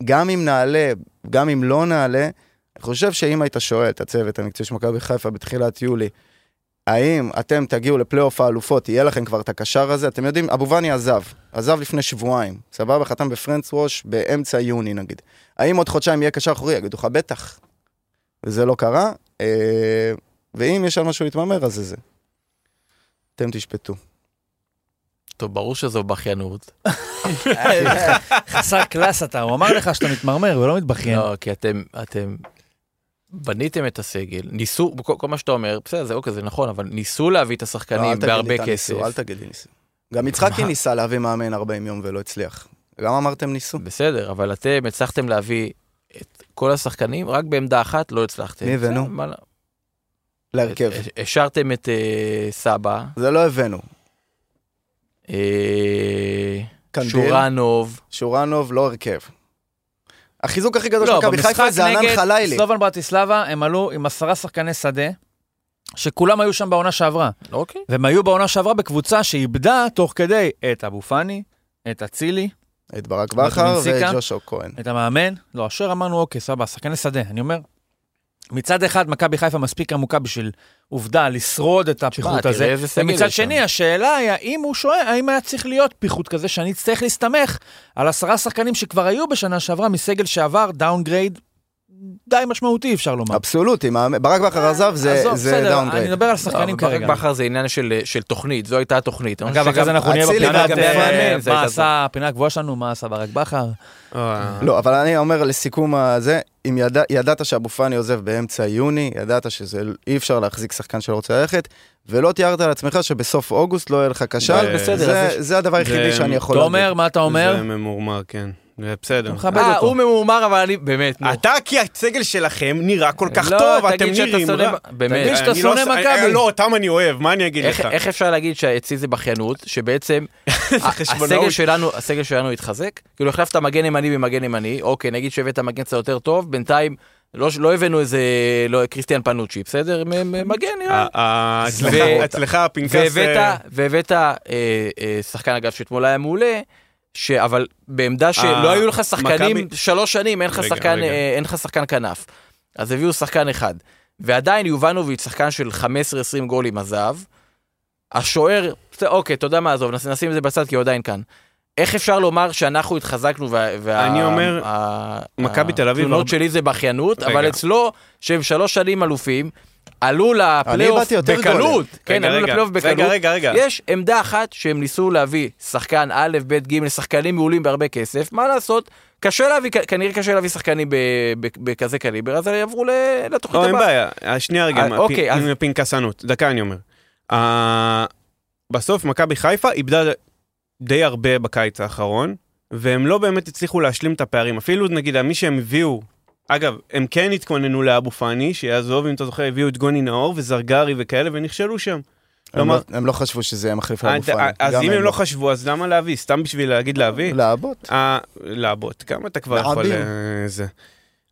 גם אם נעלה, גם אם לא נעלה, אני חושב שאם היית שואל את הצוות המקצועי של מכבי חיפה בתחילת יולי, האם אתם תגיעו לפלייאוף האלופות, יהיה לכם כבר את הקשר הזה? אתם יודעים, אבו ואני עזב, עזב לפני שבועיים, סבבה? חתם בפרנץ ווש באמצע יוני נגיד. האם עוד חודשיים יהיה קשר אחורי? יגידו לך, בטח. וזה לא קרה, אה, ואם יש על משהו להתממר, אז זה זה. אתם תשפטו.
טוב, ברור שזו בכיינות.
חסר קלאס אתה, הוא אמר לך שאתה מתמרמר ולא
כן.
מתבכיין.
לא, כי אתם, אתם בניתם את הסגל, ניסו, כל, כל מה שאתה אומר, בסדר, זה אוקיי, זה נכון, אבל ניסו להביא את
לא, אל
השחקנים
תגיד לי
בהרבה
את הניסו,
כסף.
אל תגיד לי ניסו. גם יצחקי ניסה להביא מאמן 40 יום ולא הצליח. גם אמרתם ניסו.
בסדר, אבל אתם הצלחתם להביא את כל השחקנים, רק בעמדה אחת לא הצלחתם.
מי הבאנו?
בסדר, מה לא-
להרכב.
הש- השארתם את אה, סבא,
זה לא הבאנו.
אה,
קנדיל.
שורנוב,
שורנוב לא הרכב. החיזוק הכי
לא,
גדול של מכבי
במשחק
חיפה זה ענן
נגד
חלילי.
סלובן ברטיסלבה, הם עלו עם עשרה שחקני שדה, שכולם היו שם בעונה שעברה.
אוקיי.
והם היו בעונה שעברה בקבוצה שאיבדה תוך כדי את אבו פאני, את אצילי,
את ברק בכר
סיקה.
ואת ג'ושו כהן.
את המאמן. לא, אשר אמרנו, אוקיי, סבבה, שחקני שדה. אני אומר, מצד אחד, מכבי חיפה מספיק עמוקה בשביל עובדה לשרוד את
מה,
הפיחות
תראה
הזה.
איזה סגל
ומצד
יש שם.
שני, השאלה היא, האם הוא שואל, האם היה צריך להיות פיחות כזה שאני אצטרך להסתמך על עשרה שחקנים שכבר היו בשנה שעברה מסגל שעבר דאונגרייד די משמעותי, אפשר לומר.
אבסולוטי, מאמן- ברק בכר עזב זה-
לא- אה, עזוב,
זה
בסדר, אני
דאונגרייד.
מדבר על שחקנים
ברק
כרגע.
בכר זה עניין של, של תוכנית, זו הייתה התוכנית.
אגב, אחרי זה אנחנו נהיה
אצילי
בפינת
ואבו
אה,
פאני, זה
מה
הייתה
עשה הפינה הקבועה שלנו, מה עשה ברק בכר.
אה,
לא, אבל אני אומר לסיכום הזה, אם ידע- ידעת שאבו פאני עוזב באמצע יוני, ידעת שאי אפשר להחזיק שחקן שלא רוצה ללכת, ולא תיארת לעצמך שבסוף אוגוסט לא יהיה לך קשר,
זה-
בסדר,
זה-
זה- זה הדבר היחידי
זה-
שאני יכול
תומר,
להגיד.
מה אתה אומר?
זה ממורמר, כן. זה בסדר.
מכבד
אה,
אותו.
הוא ממורמר, אבל אני, באמת,
אה,
נו.
אתה, כי הסגל שלכם נראה כל כך
לא,
טוב, אתם
תגיד שאתה
נראים
שונא
רע.
ב- באמת.
תגיד שאתה
אני לא-
שונא
אני-
מכבי.
לא, אותם אני אוהב, מה אני אגיד
אה, איך,
לך?
איך אפשר להגיד שאצלי זה בכיינות, שבעצם הסגל
חשבונאות.
שלנו, הסגל שלנו התחזק? כאילו החלפת מגן ימני במגן ימני, אוקיי, נגיד שהבאת מגן קצת יותר טוב, בינתיים לא, לא הבאנו איזה, לא, קריסטיאן פנוצ'י, בסדר? מ- מ- מגן נראה.
ה- ה- אצלך-
ו-
אצלך הפנקס... אה,
והבאת, והבאת אה, אה, שחקן אגב שאתמול היה מעולה, ש- אבל בעמדה שלא
אה,
היו לך שחקנים
מכבי-
שלוש שנים, אין לך
רגע,
שחקן,
רגע.
אה, אין לך שחקן כנף. אז הביאו שחקן אחד. ועדיין יובנוביץ', שחקן של 15-20 גולים עזב. השוער, בסדר, אוקיי, אתה יודע מה, עזוב, נס- נשים את זה בצד כי הוא עדיין כאן. איך אפשר לומר שאנחנו התחזקנו וה... וה-
אני אומר,
ה-
מכבי תל אביב
התלונות
הרבה-
שלי זה בכיינות, אבל
רגע.
אצלו, שהם שלוש שנים אלופים, עלו לפלייאוף
הבעתי יותר
בקלות.
גולים.
כן,
רגע,
עלו
רגע.
לפלייאוף בקלות.
רגע, רגע, רגע.
יש עמדה אחת שהם ניסו להביא שחקן א', ב', ג', שחקנים מעולים בהרבה כסף, מה לעשות? קשה להביא, כנראה קשה להביא שחקנים ב- ב- בכזה קליבר, אז יעברו ל- לתוכנית
לא, אין
הבאה.
בעיה. אה, שנייה רגע,
אה,
עם
אוקיי,
הפ-
אז-
עם הפנקסנות. דקה אני אומר. אה, בסוף מכבי חיפה איבדה די הרבה בקיץ האחרון, והם לא באמת הצליחו להשלים את הפערים. אפילו נגיד מי שהם הביאו, אגב, הם כן התכוננו לאבו פאני, שיעזוב, אם אתה זוכר, הביאו את גוני נאור וזרגרי וכאלה, ונכשלו שם.
הם
כלומר-
לא- הם לא חשבו שזה יהיה מחליף
אה,
לאבו פאני.
אז
גם
אם
הם
הם לא חשבו, אז למה להביא? סתם בשביל להגיד להביא?
לעבוד.
אה, לעבוד, כמה אתה כבר יכול...
לעביר.
אה, זה.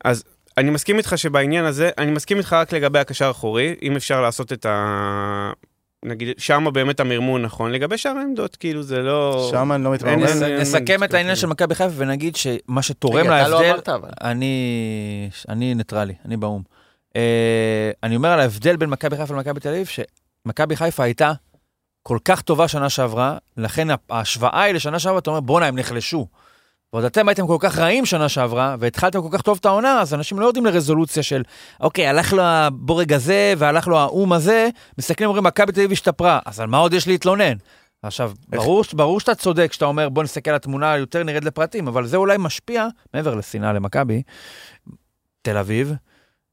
אז אני מסכים איתך שבעניין הזה, אני מסכים איתך רק לגבי הקשר האחורי, אם אפשר לעשות את ה... נגיד, שמה באמת המרמור נכון, לגבי שאר העמדות, כאילו זה לא...
שם אני לא מתמרמר.
אין-
נס-
אין- אין-
נסכם
אין-
את העניין של מכבי חיפה ונגיד שמה שתורם
רגע, אתה לא
להבדל,
אמרת, אבל.
אני אני ניטרלי, אני באו"ם. אה, אני אומר על ההבדל בין מכבי חיפה למכבי תל אביב, שמכבי חיפה הייתה כל כך טובה שנה שעברה, לכן ההשוואה היא לשנה שעברה, אתה אומר, בואנה, הם נחלשו. ועוד אתם הייתם כל כך רעים שנה שעברה, והתחלתם כל כך טוב את העונה, אז אנשים לא יורדים לרזולוציה של, אוקיי, הלך לו הבורג הזה, והלך לו האום הזה, מסתכלים, אומרים, מכבי תל אביב השתפרה, אז על מה עוד יש להתלונן? עכשיו, ברור, ש- ברור שאתה צודק כשאתה אומר, בוא נסתכל על התמונה יותר נרד לפרטים, אבל זה אולי משפיע, מעבר לשנאה למכבי, תל אביב,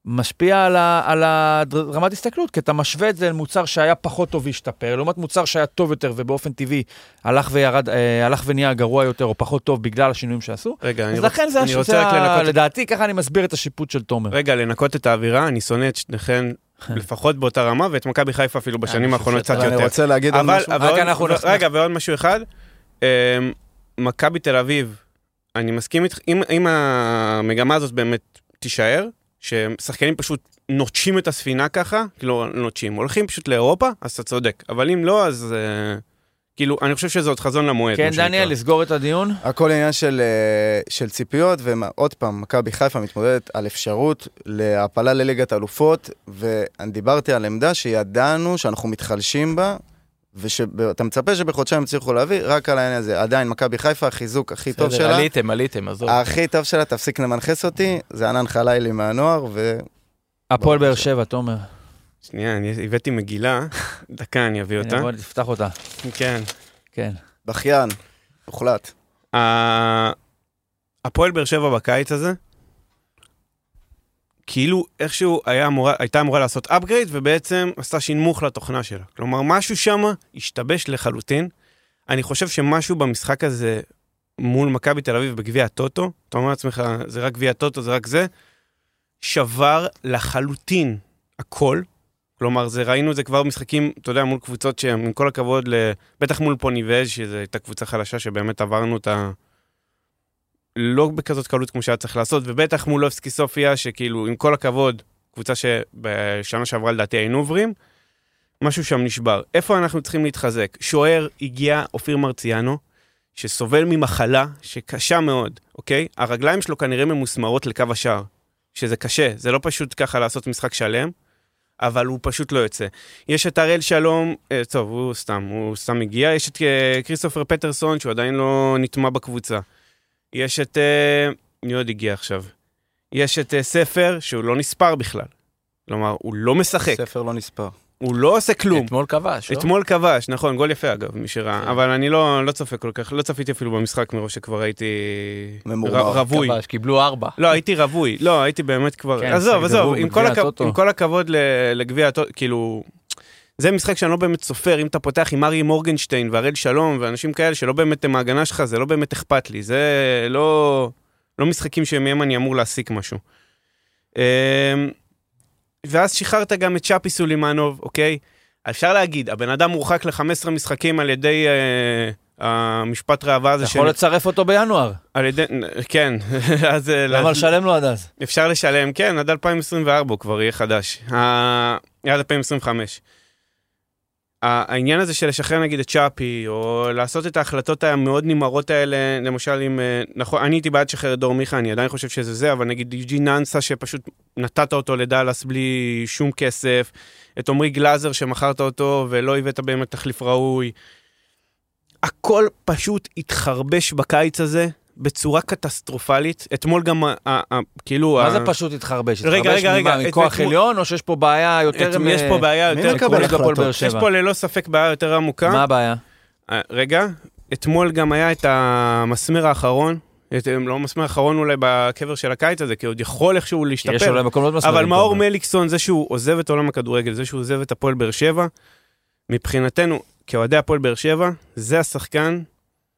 משפיע על, ה, על הדר- רמת הסתכלות, כי אתה משווה את זה למוצר שהיה פחות טוב והשתפר, לעומת מוצר שהיה טוב יותר ובאופן טבעי הלך, וירד, אה, הלך ונהיה גרוע יותר או פחות טוב בגלל השינויים שעשו.
רגע, אני
אז
רוצ-
לכן זה
אני רוצה רק
השיטה,
לנקות את-
לדעתי, ככה אני מסביר את השיפוט של תומר.
רגע, לנקות את האווירה, אני שונא את שניכן
כן.
לפחות באותה רמה, ואת מכבי חיפה
אה,
אפילו בשנים
חושב
האחרונות
שאתה-
קצת
אני
יותר.
רוצה להגיד עוד
אבל,
משהו.
אבל
רק
עוד-
אנחנו
ו-
נחסוך.
רגע, ועוד משהו אחד. אמ, מכבי תל אביב, אני מסכים איתך, אם, אם המגמה הזאת באמת תישאר, ששחקנים פשוט נוטשים את הספינה ככה, כאילו נוטשים, הולכים פשוט לאירופה, אז אתה צודק. אבל אם לא, אז אה, כאילו, אני חושב שזה עוד חזון למועד.
כן,
מה שנקרא.
דניאל, לסגור את הדיון.
הכל עניין של, אה, של ציפיות, ועוד פעם, מכבי חיפה מתמודדת על אפשרות להעפלה לליגת אלופות, ואני דיברתי על עמדה שידענו שאנחנו מתחלשים בה, ואתה מצפה שבחודשיים יצליחו להביא, רק על העניין הזה. עדיין, מכבי חיפה, החיזוק הכי טוב
בסדר,
שלה,
עליתם, עליתם, עזוב.
הכי טוב שלה, תפסיק למנחס אותי, זה ענן חלילי מהנוער,
הפועל באר
בבקשה.
שבע, תומר.
שנייה, אני הבאתי מגילה, דקה אני אביא
הנה,
אותה.
בוא נפתח אותה.
כן.
כן.
ובכיין, הוחלט.
ה- הפועל באר שבע בקיץ הזה, כאילו איכשהו היה אמורה, הייתה אמורה לעשות upgrade ובעצם עשתה שינמוך לתוכנה שלה. כלומר, משהו שם השתבש לחלוטין. אני חושב שמשהו במשחק הזה מול מכבי תל אביב בגביע הטוטו, אתה אומר לעצמך, זה רק גביע הטוטו, זה רק זה, שבר לחלוטין הכל. כלומר, זה, ראינו את זה כבר במשחקים, אתה יודע, מול קבוצות שהם, עם כל הכבוד, ל... בטח מול פוניבז, שזו הייתה קבוצה חלשה שבאמת עברנו את ה... לא בכזאת קלות כמו שהיה צריך לעשות, ובטח מול אופסקי סופיה, שכאילו, עם כל הכבוד, קבוצה שבשנה שעברה לדעתי היינו עוברים, משהו שם נשבר. איפה אנחנו צריכים להתחזק? שוער הגיע אופיר מרציאנו, שסובל ממחלה שקשה מאוד, אוקיי? הרגליים שלו כנראה ממוסמרות לקו השער, שזה קשה, זה לא פשוט ככה לעשות משחק שלם, אבל הוא פשוט לא יוצא. יש את הראל שלום, אה, טוב, הוא סתם, הוא סתם הגיע, יש את אה, כריסטופר פטרסון, שהוא עדיין לא נטמע בקבוצה. יש את... אה, מי עוד הגיע עכשיו? יש את אה, ספר, שהוא לא נספר בכלל. כלומר, הוא לא משחק,
ספר לא נספר.
הוא לא עושה כלום.
אתמול כבש, לא?
אתמול כבש, נכון, גול יפה אגב, מי שראה,
כן.
אבל אני לא, לא צופה כל כך, לא צפיתי אפילו במשחק מרוב שכבר הייתי
ממורמר.
ר- רווי.
כבש, קיבלו ארבע.
לא, הייתי רווי, לא, הייתי באמת כבר...
כן,
עזוב,
משחק
עזוב,
גרוע
עם
בגביע
כל, הכ...
הטוטו.
עם כל הכבוד ל- לגביע הטוטו, כאילו... זה משחק שאני לא באמת סופר, אם אתה פותח עם ארי מורגנשטיין והראל שלום ואנשים כאלה שלא באמת הם ההגנה שלך, זה לא באמת אכפת לי, זה לא, לא משחקים שמהם אני אמור להסיק משהו. אמ, ואז שחררת גם את שפי סולימנוב, אוקיי? אפשר להגיד, הבן אדם מורחק ל-15 משחקים על ידי אה, המשפט ראווה
אתה
הזה,
יכול לצרף אותו בינואר.
על ידי, כן, אז... אה,
למה
לה-
לשלם לו עד אז?
אפשר לשלם, כן, עד 2024 הוא כבר יהיה חדש. ה- עד 2025. ה- העניין הזה של לשחרר נגיד את צ'אפי, או לעשות את ההחלטות המאוד נמהרות האלה, למשל אם... אה, נכון, אני הייתי בעד לשחרר את דור מיכה, אני עדיין חושב שזה זה, אבל נגיד יוג'י ננסה שפשוט נתת אותו לדאלאס בלי שום כסף, את עמרי גלאזר שמכרת אותו ולא הבאת באמת תחליף ראוי. הכל פשוט התחרבש בקיץ הזה בצורה קטסטרופלית. אתמול גם, ה- ה- ה- כאילו...
מה
ה-
זה פשוט התחרבש?
רגע,
התחרבש
רגע,
ממה,
רגע,
מכוח
אתמול-
עליון, או שיש פה בעיה יותר...
את- יש
אה,
פה בעיה
מי
יותר...
מקבל
עקרונית בהפועל
החלטות?
באר
יש
שבע?
פה ללא ספק בעיה יותר עמוקה.
מה הבעיה?
אה, רגע, אתמול גם היה את המסמר האחרון, את- לא המסמר האחרון אולי בקבר של הקיץ הזה, כי עוד יכול איכשהו
כי יש אולי אה.
להשתפר.
מקומות מסוימים.
אבל מאור מליקסון, זה שהוא עוזב את עולם הכדורגל, זה שהוא עוזב את הפועל באר שבע, מבחינתנו, כאוהדי הפועל באר שבע, זה השחקן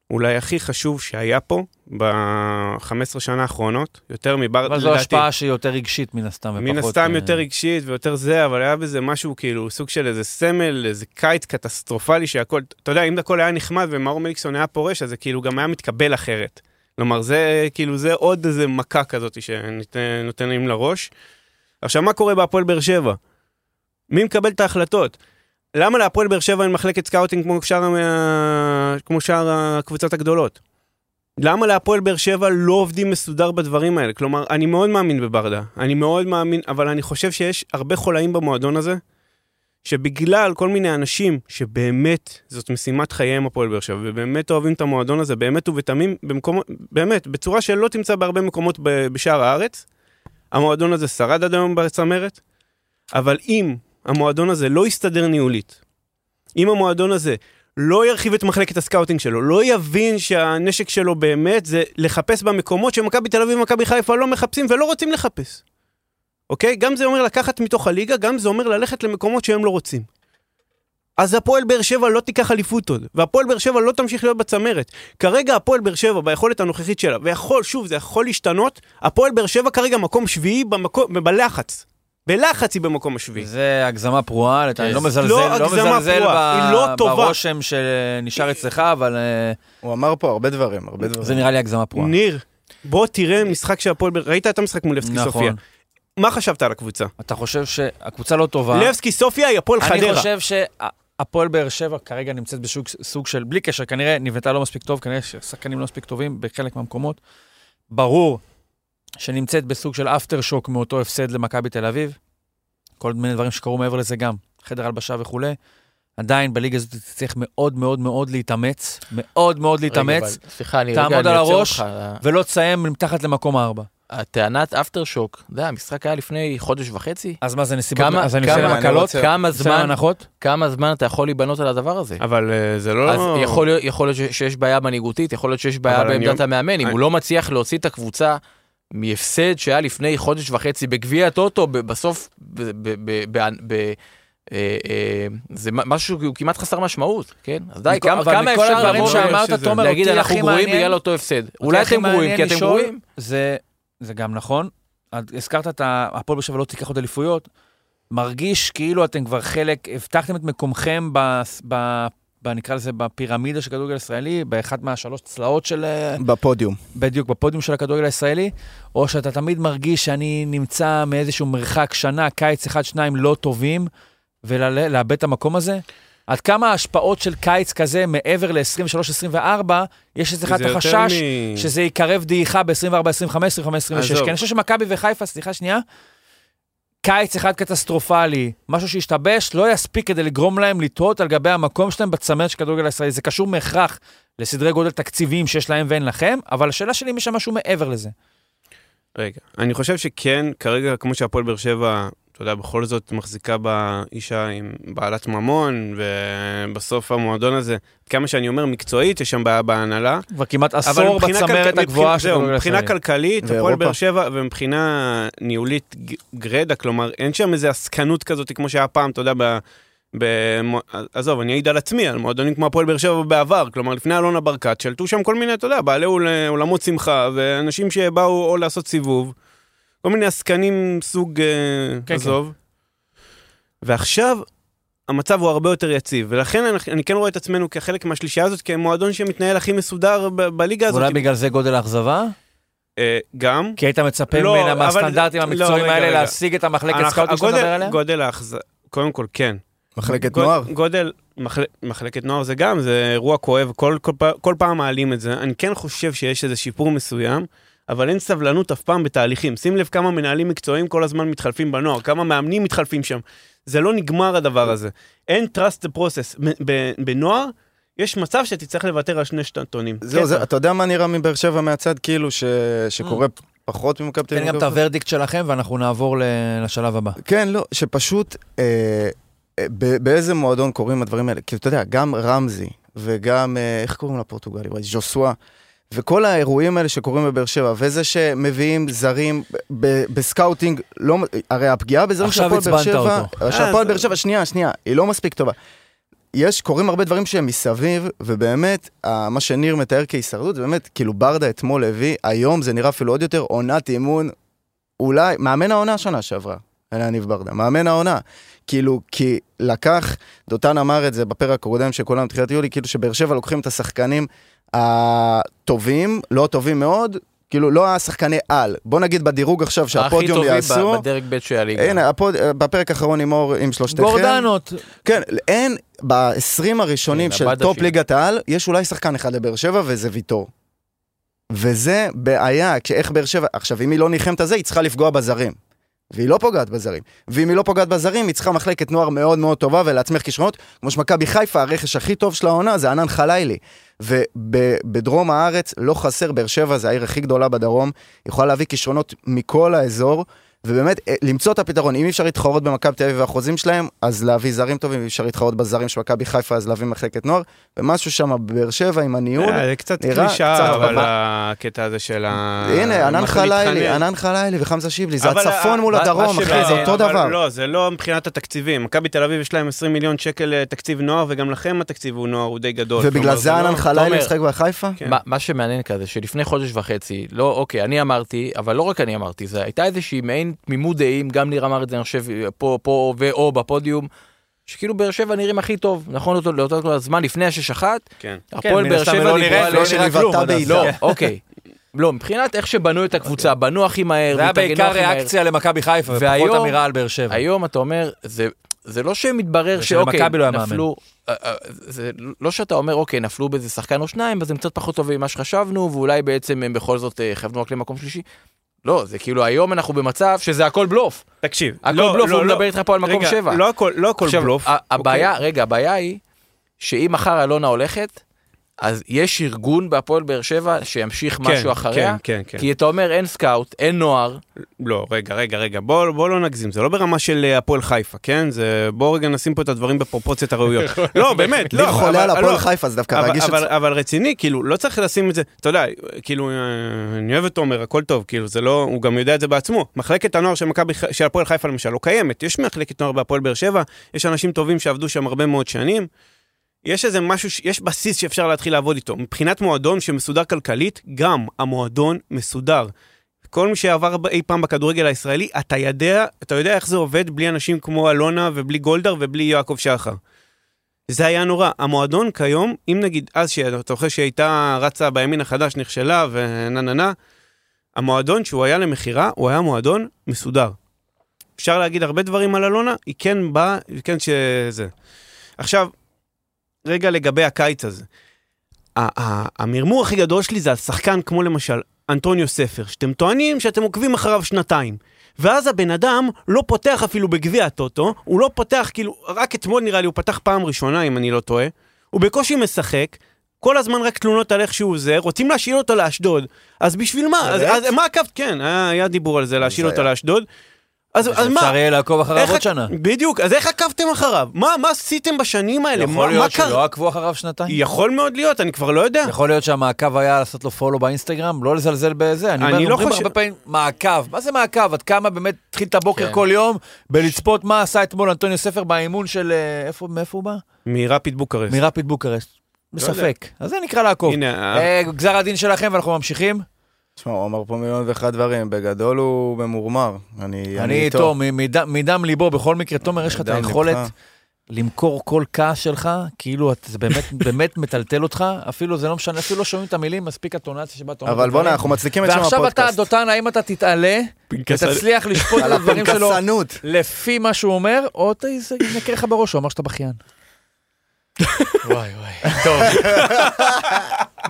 אולי הכי חשוב שהיה פה ב-15 שנה האחרונות, יותר מבר...
אבל זו
לדעתי.
השפעה שהיא יותר רגשית מן הסתם.
מן
ופחות,
הסתם
אה,
יותר רגשית ויותר זה, אבל היה בזה משהו כאילו סוג של איזה סמל, איזה קיץ קטסטרופלי שהכל, אתה יודע, אם הכל היה נחמד ומאור מליקסון היה פורש, אז זה כאילו גם היה מתקבל אחרת. כלומר, זה כאילו, זה עוד איזה מכה כזאת שנותנים לראש. עכשיו, מה קורה בהפועל באר שבע? מי מקבל את ההחלטות? למה להפועל באר שבע אין מחלקת סקאוטינג כמו שאר, ה- כמו שאר הקבוצות הגדולות? למה להפועל באר שבע לא עובדים מסודר בדברים האלה? כלומר, אני מאוד מאמין בברדה, אני מאוד מאמין, אבל אני חושב שיש הרבה חולאים במועדון הזה, שבגלל כל מיני אנשים שבאמת זאת משימת חייהם הפועל באר שבע, ובאמת אוהבים את המועדון הזה, באמת ובתמים, במקום, באמת, בצורה שלא תמצא בהרבה מקומות ב- בשאר הארץ, המועדון הזה שרד עד היום בצמרת, אבל אם המועדון הזה לא יסתדר ניהולית, אם המועדון הזה לא ירחיב את מחלקת הסקאוטינג שלו, לא יבין שהנשק שלו באמת זה לחפש במקומות שמכבי תל אביב ומכבי חיפה לא מחפשים ולא רוצים לחפש. אוקיי? גם זה אומר לקחת מתוך הליגה, גם זה אומר ללכת למקומות שהם לא רוצים. אז הפועל באר שבע לא תיקח אליפות עוד, והפועל באר שבע לא תמשיך להיות בצמרת. כרגע הפועל באר שבע, ביכולת הנוכחית שלה, ויכול, שוב, זה יכול להשתנות, הפועל באר שבע כרגע מקום שביעי במקום, בלחץ. בלחץ היא במקום השביעי.
זה הגזמה פרועה, לטעמי. אני לא
לא
מזלזל, לא
הגזמה
מזלזל
פרועה,
ב-
היא לא טובה.
ברושם שנשאר אצלך, אבל אה,
הוא אמר פה הרבה דברים, הרבה דברים.
זה נראה לי הגזמה פרועה.
ניר, בוא תראה משחק שהפועל באר... ראית את המשחק מול לבסקי סופיה.
נכון.
מה חשבת על הקבוצה?
אתה חושב שהקבוצה לא טובה.
לבסקי סופיה היא הפועל
אני
חדרה.
חושב שהפועל באר שבע כרגע נמצאת בשוק סוג של, בלי קשר, כנראה נבנתה לא מספיק טוב, כנראה ששחקנים לא מספיק טובים בחלק מהמקומות. ברור שנמצאת בסוג של אפטר שוק מאותו הפסד למכבי תל אביב. כל מיני דברים שקרו מעבר לזה גם, חדר הלבשה וכולי. עדיין בליגה הזאת צריך מאוד מאוד מאוד להתאמץ, מאוד מאוד להתאמץ,
רגע, אבל- סליחה, אני
תעמוד
רגע, אני
על
עוצר
הראש.
אותך.
ולא תסיים מתחת למקום הארבע.
הטענת אפטר שוק, אתה יודע, המשחק היה לפני חודש וחצי.
אז מה זה נסיבות?
כמה-
אז אני לא
כמה- לא
עושה להם
אני
הקלות?
רוצה-
כמה
עושה להם
זמן,
הנחות?
כמה זמן אתה יכול להיבנות על הדבר הזה?
אבל אה, זה לא...
אז יכול להיות- יכול להיות ש- שיש בעיה מנהיגותית, יכול להיות שיש בעיה
אבל אני
בעמדת
אומר-
המאמן. אם
אני-
הוא לא מצליח להוציא את הקבוצה מהפסד שהיה לפני חודש וחצי בגביע הטוטו, ב- בסוף, ב- ב- ב- ב- ב- אה, אה, זה מ- משהו שהוא כמעט חסר משמעות, כן? אז די,
מכל-
כמה
אבל
כמה
מכל
אפשר
הדברים
לבוא
שאמרת,
ולהגיד,
תומר,
להגיד
אותי
אנחנו
הכי
גרועים
מעניין-
בגלל אותו הפסד?
אותי
אולי
הכי
אתם גרועים
מעניין
כי אתם
לשאול-
גרועים?
זה, זה גם נכון. את- הזכרת את ה- הפועל באר שבע לא תיקח עוד אליפויות. מרגיש כאילו אתם כבר חלק, הבטחתם את מקומכם ב... ב ב- נקרא לזה בפירמידה של הכדורגל הישראלי, באחת מהשלוש צלעות של... אה,
בפודיום.
בדיוק, בפודיום של הכדורגל הישראלי, או שאתה תמיד מרגיש שאני נמצא מאיזשהו מרחק שנה, קיץ אחד, שניים לא טובים, ולאבד את המקום הזה? עד כמה ההשפעות של קיץ כזה מעבר ל-23-24, יש אצלך את
זה יותר
החשש
מ-
שזה יקרב דעיכה ב-24, 25, 25, 26.
עזוב.
כי אני חושב שמכבי וחיפה, סליחה שנייה, קיץ אחד קטסטרופלי, משהו שהשתבש, לא יספיק כדי לגרום להם לתהות על גבי המקום שלהם בצמרת של כדורגל הישראלי. זה קשור מהכרח לסדרי גודל תקציביים שיש להם ואין לכם, אבל השאלה שלי אם יש שם משהו מעבר לזה.
רגע, אני חושב שכן, כרגע, כמו שהפועל באר שבע, אתה יודע, בכל זאת מחזיקה באישה עם בעלת ממון, ובסוף המועדון הזה, כמה שאני אומר, מקצועית, יש שם בעיה בהנהלה.
כבר כמעט
אבל
עשור
מבחינה
בצמרת
כלכל-
הגבוהה של
זהו,
כדורגל
מבחינה
הישראלי.
כלכלית, הפועל
ואירופה.
באר שבע, ומבחינה ניהולית ג- גרידא, כלומר, אין שם איזו עסקנות כזאת כמו שהיה פעם, אתה יודע, ב... במו... עזוב, אני אעיד על עצמי, על מועדונים כמו הפועל באר שבע בעבר, כלומר, לפני אלונה ברקת, שלטו שם כל מיני, אתה יודע, בעלי אול- אולמות שמחה, ואנשים שבאו או לעשות סיבוב, כל מיני עסקנים סוג, אה,
כן.
עזוב. ועכשיו, המצב הוא הרבה יותר יציב, ולכן אני, אני כן רואה את עצמנו כחלק מהשלישייה הזאת, כמועדון שמתנהל הכי מסודר ב- בליגה הזאת.
אולי בגלל זה גודל האכזבה?
אה, גם.
כי היית מצפה
לא,
ממנה
אבל-
מהסטנדרטים
לא,
המקצועיים
רגע,
האלה
רגע.
להשיג את המחלקת
אנחנו-
סקאוטים שאתה
הגודל-
מדבר עליה?
גודל האכז... קודם כל, כן.
מחלקת
גוד-
נוער.
גודל, מחל- מחלקת נוער זה גם, זה אירוע כואב, כל, כל, פ- כל פעם מעלים את זה. אני כן חושב שיש איזה שיפור מסוים, אבל אין סבלנות אף פעם בתהליכים. שים לב כמה מנהלים מקצועיים כל הזמן מתחלפים בנוער, כמה מאמנים מתחלפים שם. זה לא נגמר הדבר הזה. אין trust the process. מ- ב- בנוער, יש מצב שתצטרך לוותר על שני שנתונים.
זהו,
קטע.
זה- אתה יודע מה נראה מבאר שבע מהצד, כאילו, ש- שקורה פחות ממכבי תל
תן
אביב?
גם את הוורדיקט שלכם ואנחנו נעבור ל- לשלב הבא.
כן, לא, שפשוט אה, אה, ב- באיזה מועדון קורים הדברים האלה? כי אתה יודע, גם רמזי וגם, אה, איך קוראים לפורטוגלי? וואי, ז'וסואה. וכל האירועים האלה שקורים בבאר שבע, וזה שמביאים זרים ב- בסקאוטינג, לא, מ- הרי הפגיעה בזרים של
עכשיו
הפועל באר
עצבנת
שבע, שהפועל
אז-
באר שבע, שנייה, שנייה, היא לא מספיק טובה. יש, קורים הרבה דברים שהם מסביב, ובאמת, ה- מה שניר מתאר כהישרדות, זה באמת, כאילו ברדה אתמול הביא, היום זה נראה אפילו עוד יותר עונת אימון, אולי, מאמן העונה שנה שעברה, אלה יניב ברדה, מאמן העונה. כאילו, כי לקח, דותן אמר את זה בפרק הקודם של כולם תחילת יולי, כאילו שבאר שבע לוקחים את השחקנים הטובים, לא טובים מאוד, כאילו לא השחקני על. בוא נגיד בדירוג עכשיו
הכי
שהפודיום
טובים
יעשו.
ב- בדרג ב' של הליגה.
הנה, הפוד... בפרק האחרון עם אור, עם שלושתכם.
גורדנות,
כן, אין, ב-20 הראשונים
כן,
של
הבדשים.
טופ ליגת העל, יש אולי שחקן אחד לבאר שבע, וזה ויטור. וזה בעיה, כשאיך באר שבע... עכשיו, אם היא לא נלחמת על זה, היא צריכה לפגוע בזרים. והיא לא פוגעת בזרים. ואם היא לא פוגעת בזרים, היא צריכה מחלקת נוער מאוד מאוד טובה ולהצמיח כישרונות. כמו שמכבי חיפה, הרכש הכי טוב של העונה זה ענן חלילי. ובדרום הארץ לא חסר, באר שבע זה העיר הכי גדולה בדרום, היא יכולה להביא כישרונות מכל האזור, ובאמת, אה, למצוא את הפתרון. אם אי אפשר להתחרות במכבי תל אביב והחוזים שלהם, אז להביא זרים טובים, אם אי אפשר להתחרות בזרים של מכבי חיפה, אז להביא מחלקת נוער, ומשהו שם בבאר שבע עם הניהול.
אה, זה קצת
נראה קצת
קלישאה, אבל
בבא.
הקטע הזה של ה...
הנה, ענן
אה, אנחנו
חלילי,
נתחנן.
ענן חלילי וחמזה שיבלי, זה
אבל
הצפון
ה-
מול
מה-
הדרום,
מה
אחי,
שבא-
זה אותו
אבל
דבר.
לא, זה לא מבחינת התקציבים. מכבי תל אביב יש להם 20 מיליון שקל אה, תקציב נוער, וגם לכם התקציב הוא נוער, הוא די גדול.
ובגלל
כלומר,
זה
לא-
ענן חלילי
תומר.
משחק בחיפה?
כן.
מה- מה שמעניין כזה, שלפני חודש וחצי, לא, אוקיי, אני אמרתי, אבל לא רק אני אמרתי, זה הייתה איזושהי מעין תמימות דעים, גם ניר אמר את זה, אני חושב, פה, פה ואו בפודיום, שכאילו באר שבע נראים הכי טוב, נכון, אותו- לאותו זמן לפני השש אחת,
כן.
הפועל
מן
באר
הסתם לא
שבע דיברו
נראה-
על...
לא
לא
נראה כלום.
שנבעטה
עד אז.
בעילה.
לא, אוקיי. לא, מבחינת איך שבנו את הקבוצה, בנו הכי מהר,
זה היה
והתארגנו
בעיקר
הכי מהר.
ריאקציה למכבי חיפה, ופחות
והיום-
אמירה על באר שבע.
היום אתה אומר, זה, זה לא שמתברר
זה
שאוקיי,
שלמכבי לא היה מאמן.
נפלו, אה, אה, זה לא שאתה אומר, אוקיי, נפלו באיזה שחקן או שניים, אז הם קצת פחות טובים ממה שחשבנו, ואולי בעצם הם בכל זאת אה, כיוונו רק למקום שלישי. לא, זה כאילו היום אנחנו במצב שזה הכל בלוף.
תקשיב,
הכל בלוף, הוא מדבר איתך פה על מקום
לא, רגע,
שבע.
לא הכל, לא הכל
עכשיו,
בלוף. אוקיי.
ה- הבעיה, רגע, הבעיה היא שאם מחר אלונה הולכת, אז יש ארגון בהפועל באר שבע שימשיך
כן,
משהו אחריה,
כן, כן, כן.
כי אתה אומר אין סקאוט, אין נוער,
לא, רגע, רגע, רגע, בוא, בוא לא נגזים, זה לא ברמה של אה, הפועל חיפה, כן? זה... בואו רגע נשים פה את הדברים בפרופורציות הראויות. לא, באמת,
לי
לא. אבל-
חולה על הפועל
לא,
חיפה, זה דווקא
אבל-
רגיש את
אבל-
זה.
אבל רציני, כאילו, לא צריך לשים את זה, אתה יודע, כאילו, אה, אני אוהב את תומר, הכל טוב, כאילו, זה לא, הוא גם יודע את זה בעצמו. מחלקת הנוער של מכבי ח- של הפועל חיפה למשל לא קיימת, יש מחלקת נוער בהפועל באר שבע, יש אנשים טובים שעבדו שם הרבה מאוד שנים. יש איזה משהו, ש- יש בסיס שאפשר להתחיל לעבוד איתו. מבחינת מועדון שמסודר כלכלית, גם המועדון מסודר. כל מי שעבר ב- אי פעם בכדורגל הישראלי, אתה יודע, אתה יודע איך זה עובד בלי אנשים כמו אלונה ובלי גולדהר ובלי יעקב שחר. זה היה נורא. המועדון כיום, אם נגיד אז, שאתה זוכר שהיא הייתה רצה בימין החדש, נכשלה ונה נה נה, המועדון שהוא היה למכירה, הוא היה מועדון מסודר. אפשר להגיד הרבה דברים על אלונה, היא כן באה, היא כן שזה. עכשיו, רגע לגבי הקיץ הזה. ה- ה- המרמור הכי גדול שלי זה על שחקן כמו למשל אנטוניו ספר, שאתם טוענים שאתם עוקבים אחריו שנתיים. ואז הבן אדם לא פותח אפילו בגביע הטוטו, הוא לא פותח, כאילו, רק אתמול נראה לי, הוא פתח פעם ראשונה, אם אני לא טועה. הוא בקושי משחק, כל הזמן רק תלונות על איך שהוא זה, רוצים להשאיל אותו לאשדוד. אז בשביל מה? אז,
באמת?
אז מה עקבת? כן, היה, היה דיבור על זה, להשאיל
זה
אותו
היה.
לאשדוד. אז, אז מה?
אפשר יהיה לעקוב אחריו
איך
עוד
עק-
שנה.
בדיוק, אז איך עקבתם אחריו? מה, מה עשיתם בשנים האלה?
יכול
מה, מה
להיות
קרה?
שלא עקבו אחריו שנתיים?
יכול מאוד להיות, אני כבר לא יודע.
יכול להיות שהמעקב היה לעשות לו פולו באינסטגרם? לא לזלזל בזה. אני
אני
אומר,
לא
אומרים
חושב-
הרבה פעמים, מעקב. מה זה מעקב? עד כמה באמת התחיל את הבוקר
כן.
כל יום בלצפות מה עשה אתמול אנטוניו ספר באימון של... אה, איפה, מאיפה הוא בא?
מרפיד בוקרסט.
מרפיד בוקרשט. בספק. אז זה נקרא לעקוב.
לא הנה, ה-
אה, גזר הדין שלכם ואנחנו ממשיכים.
תשמע, הוא אמר פה מיליון ואחד דברים, בגדול הוא ממורמר. אני
אני איתו, מ- מדם- מדם ליבו, בכל מקרה, תומר, יש לך את
מדם
היכולת
ליבך.
למכור כל כעס שלך, כאילו את- זה באמת- באמת מטלטל אותך, אפילו זה לא משנה, אפילו לא שומעים את המילים, מספיק הטונציה שבה אתה אומר את
אבל בוא'נה,
הדברים.
אנחנו מצליקים את שם הפודקאסט.
ועכשיו אתה, דותן, האם אתה תתעלה
פנקס-
ותצליח לשפוט על הדברים שלו
פנקסנות.
לפי מה שהוא אומר, או ת- זה ינקה לך בראש, הוא אמר שאתה בכיין.
וואי וואי, טוב.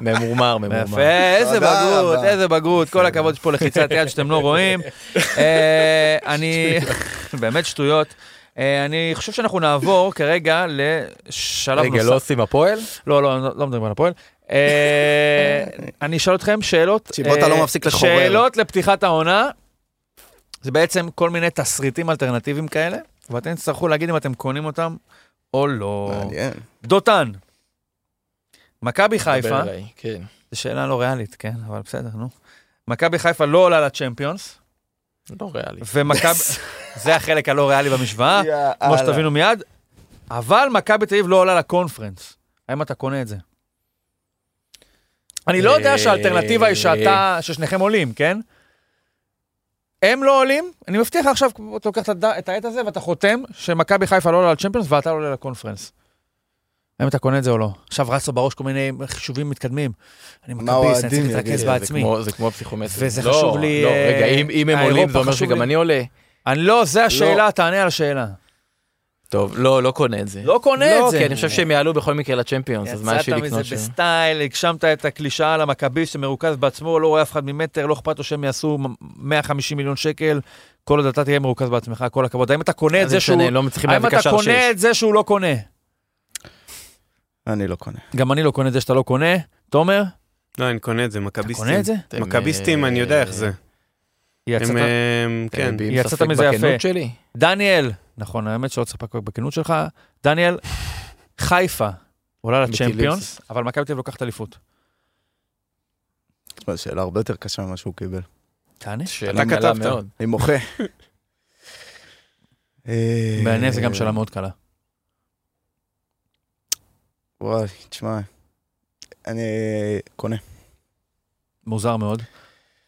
ממורמר, ממורמר.
יפה, איזה
תודה
בגרות,
רבה.
איזה בגרות, כל הכבוד, יש פה לחיצת יד שאתם לא רואים. אה, אני, באמת שטויות. אה, אני חושב שאנחנו נעבור כרגע לשלב
רגע, לא
נוסף.
עושים הפועל?
לא, לא, לא, לא מדברים על הפועל. אה, אני אשאל אתכם שאלות.
צ'יבוטה
אה,
לא מפסיק לחורר.
שאלות לפתיחת העונה. זה בעצם כל מיני תסריטים אלטרנטיביים כאלה, ואתם תצטרכו להגיד אם אתם קונים אותם או לא.
מעניין.
דותן, מכבי חיפה,
דבר אליי, כן.
זו שאלה לא ריאלית, כן, אבל בסדר, נו. מכבי חיפה לא עולה לצ'מפיונס,
לא ריאלי.
ומכבי... זה החלק הלא ריאלי
אה,
במשוואה, כמו שתבינו מיד, אבל מכבי תל אביב לא עולה לקונפרנס. האם אתה קונה את זה? אני לא יודע
אה,
שהאלטרנטיבה היא שאתה, ששניכם עולים, כן? הם לא עולים, אני מבטיח לך עכשיו, אתה לוקח את הד- את העט הזה ואתה חותם שמכבי חיפה לא עולה לצ'מפיונס ואתה לא עולה לקונפרנס. האם אתה קונה את זה או לא? עכשיו רץ לו בראש כל מיני חישובים מתקדמים. אני
מה
מכביסט, אני
האוהדים
צריך
יגידו?
להתרכז
זה
בעצמי.
זה כמו הפסיכומטרי.
וזה חשוב לי,
לא,
אה,
רגע, אם- אם הם
האירופה
עולים זה אומר
חשוב
שגם
לי.
אני עולה.
אני לא, זה השאלה, תענה על השאלה.
טוב, לא, לא קונה את זה.
לא קונה את זה.
לא, כי אני חושב שהם יעלו בכל מקרה לצ'מפיונס, אז מה יש לי
יצאת
לקנות
מזה
שם?
בסטייל, הגשמת את הקלישאה על המכבי שמרוכז בעצמו, לא רואה אף אחד ממטר, לא אכפת לו שהם יעשו מ- 150 מיליון שקל, כל עוד אתה תהיה מרוכז בעצמך, כל הכבוד. האם אתה קונה את
אז
זה
זה
שהוא...
משנה, לא מצליחים
האם אתה
להביא קשר שש.
קונה את זה שהוא לא קונה?
אני לא קונה.
גם אני לא קונה את זה שאתה לא קונה. תומר,
לא, אני קונה את זה,
אתה
מכביסטים.
קונה את זה?
אתם,
מכביסטים,
אה,
אני יודע איך זה.
היא
הם,
הצתה-
הם, כן,
בי.
עם
יצאת
ספק
מזה יפה.
בכנות שלי.
דניאל, נכון, האמת שלא צריך לפקפק בכנות שלך. דניאל, חיפה עולה לצ'מפיונס, אבל מכבי תל אביב לוקחת אליפות.
אבל שאלה הרבה יותר קשה ממה שהוא קיבל.
תענה.
שאלה
אתה
קלה
כתבת.
מאוד.
אני מוחה. אה,
בעיניי זה גם שאלה מאוד קלה.
אה, וואי, תשמע, אני קונה.
מוזר מאוד.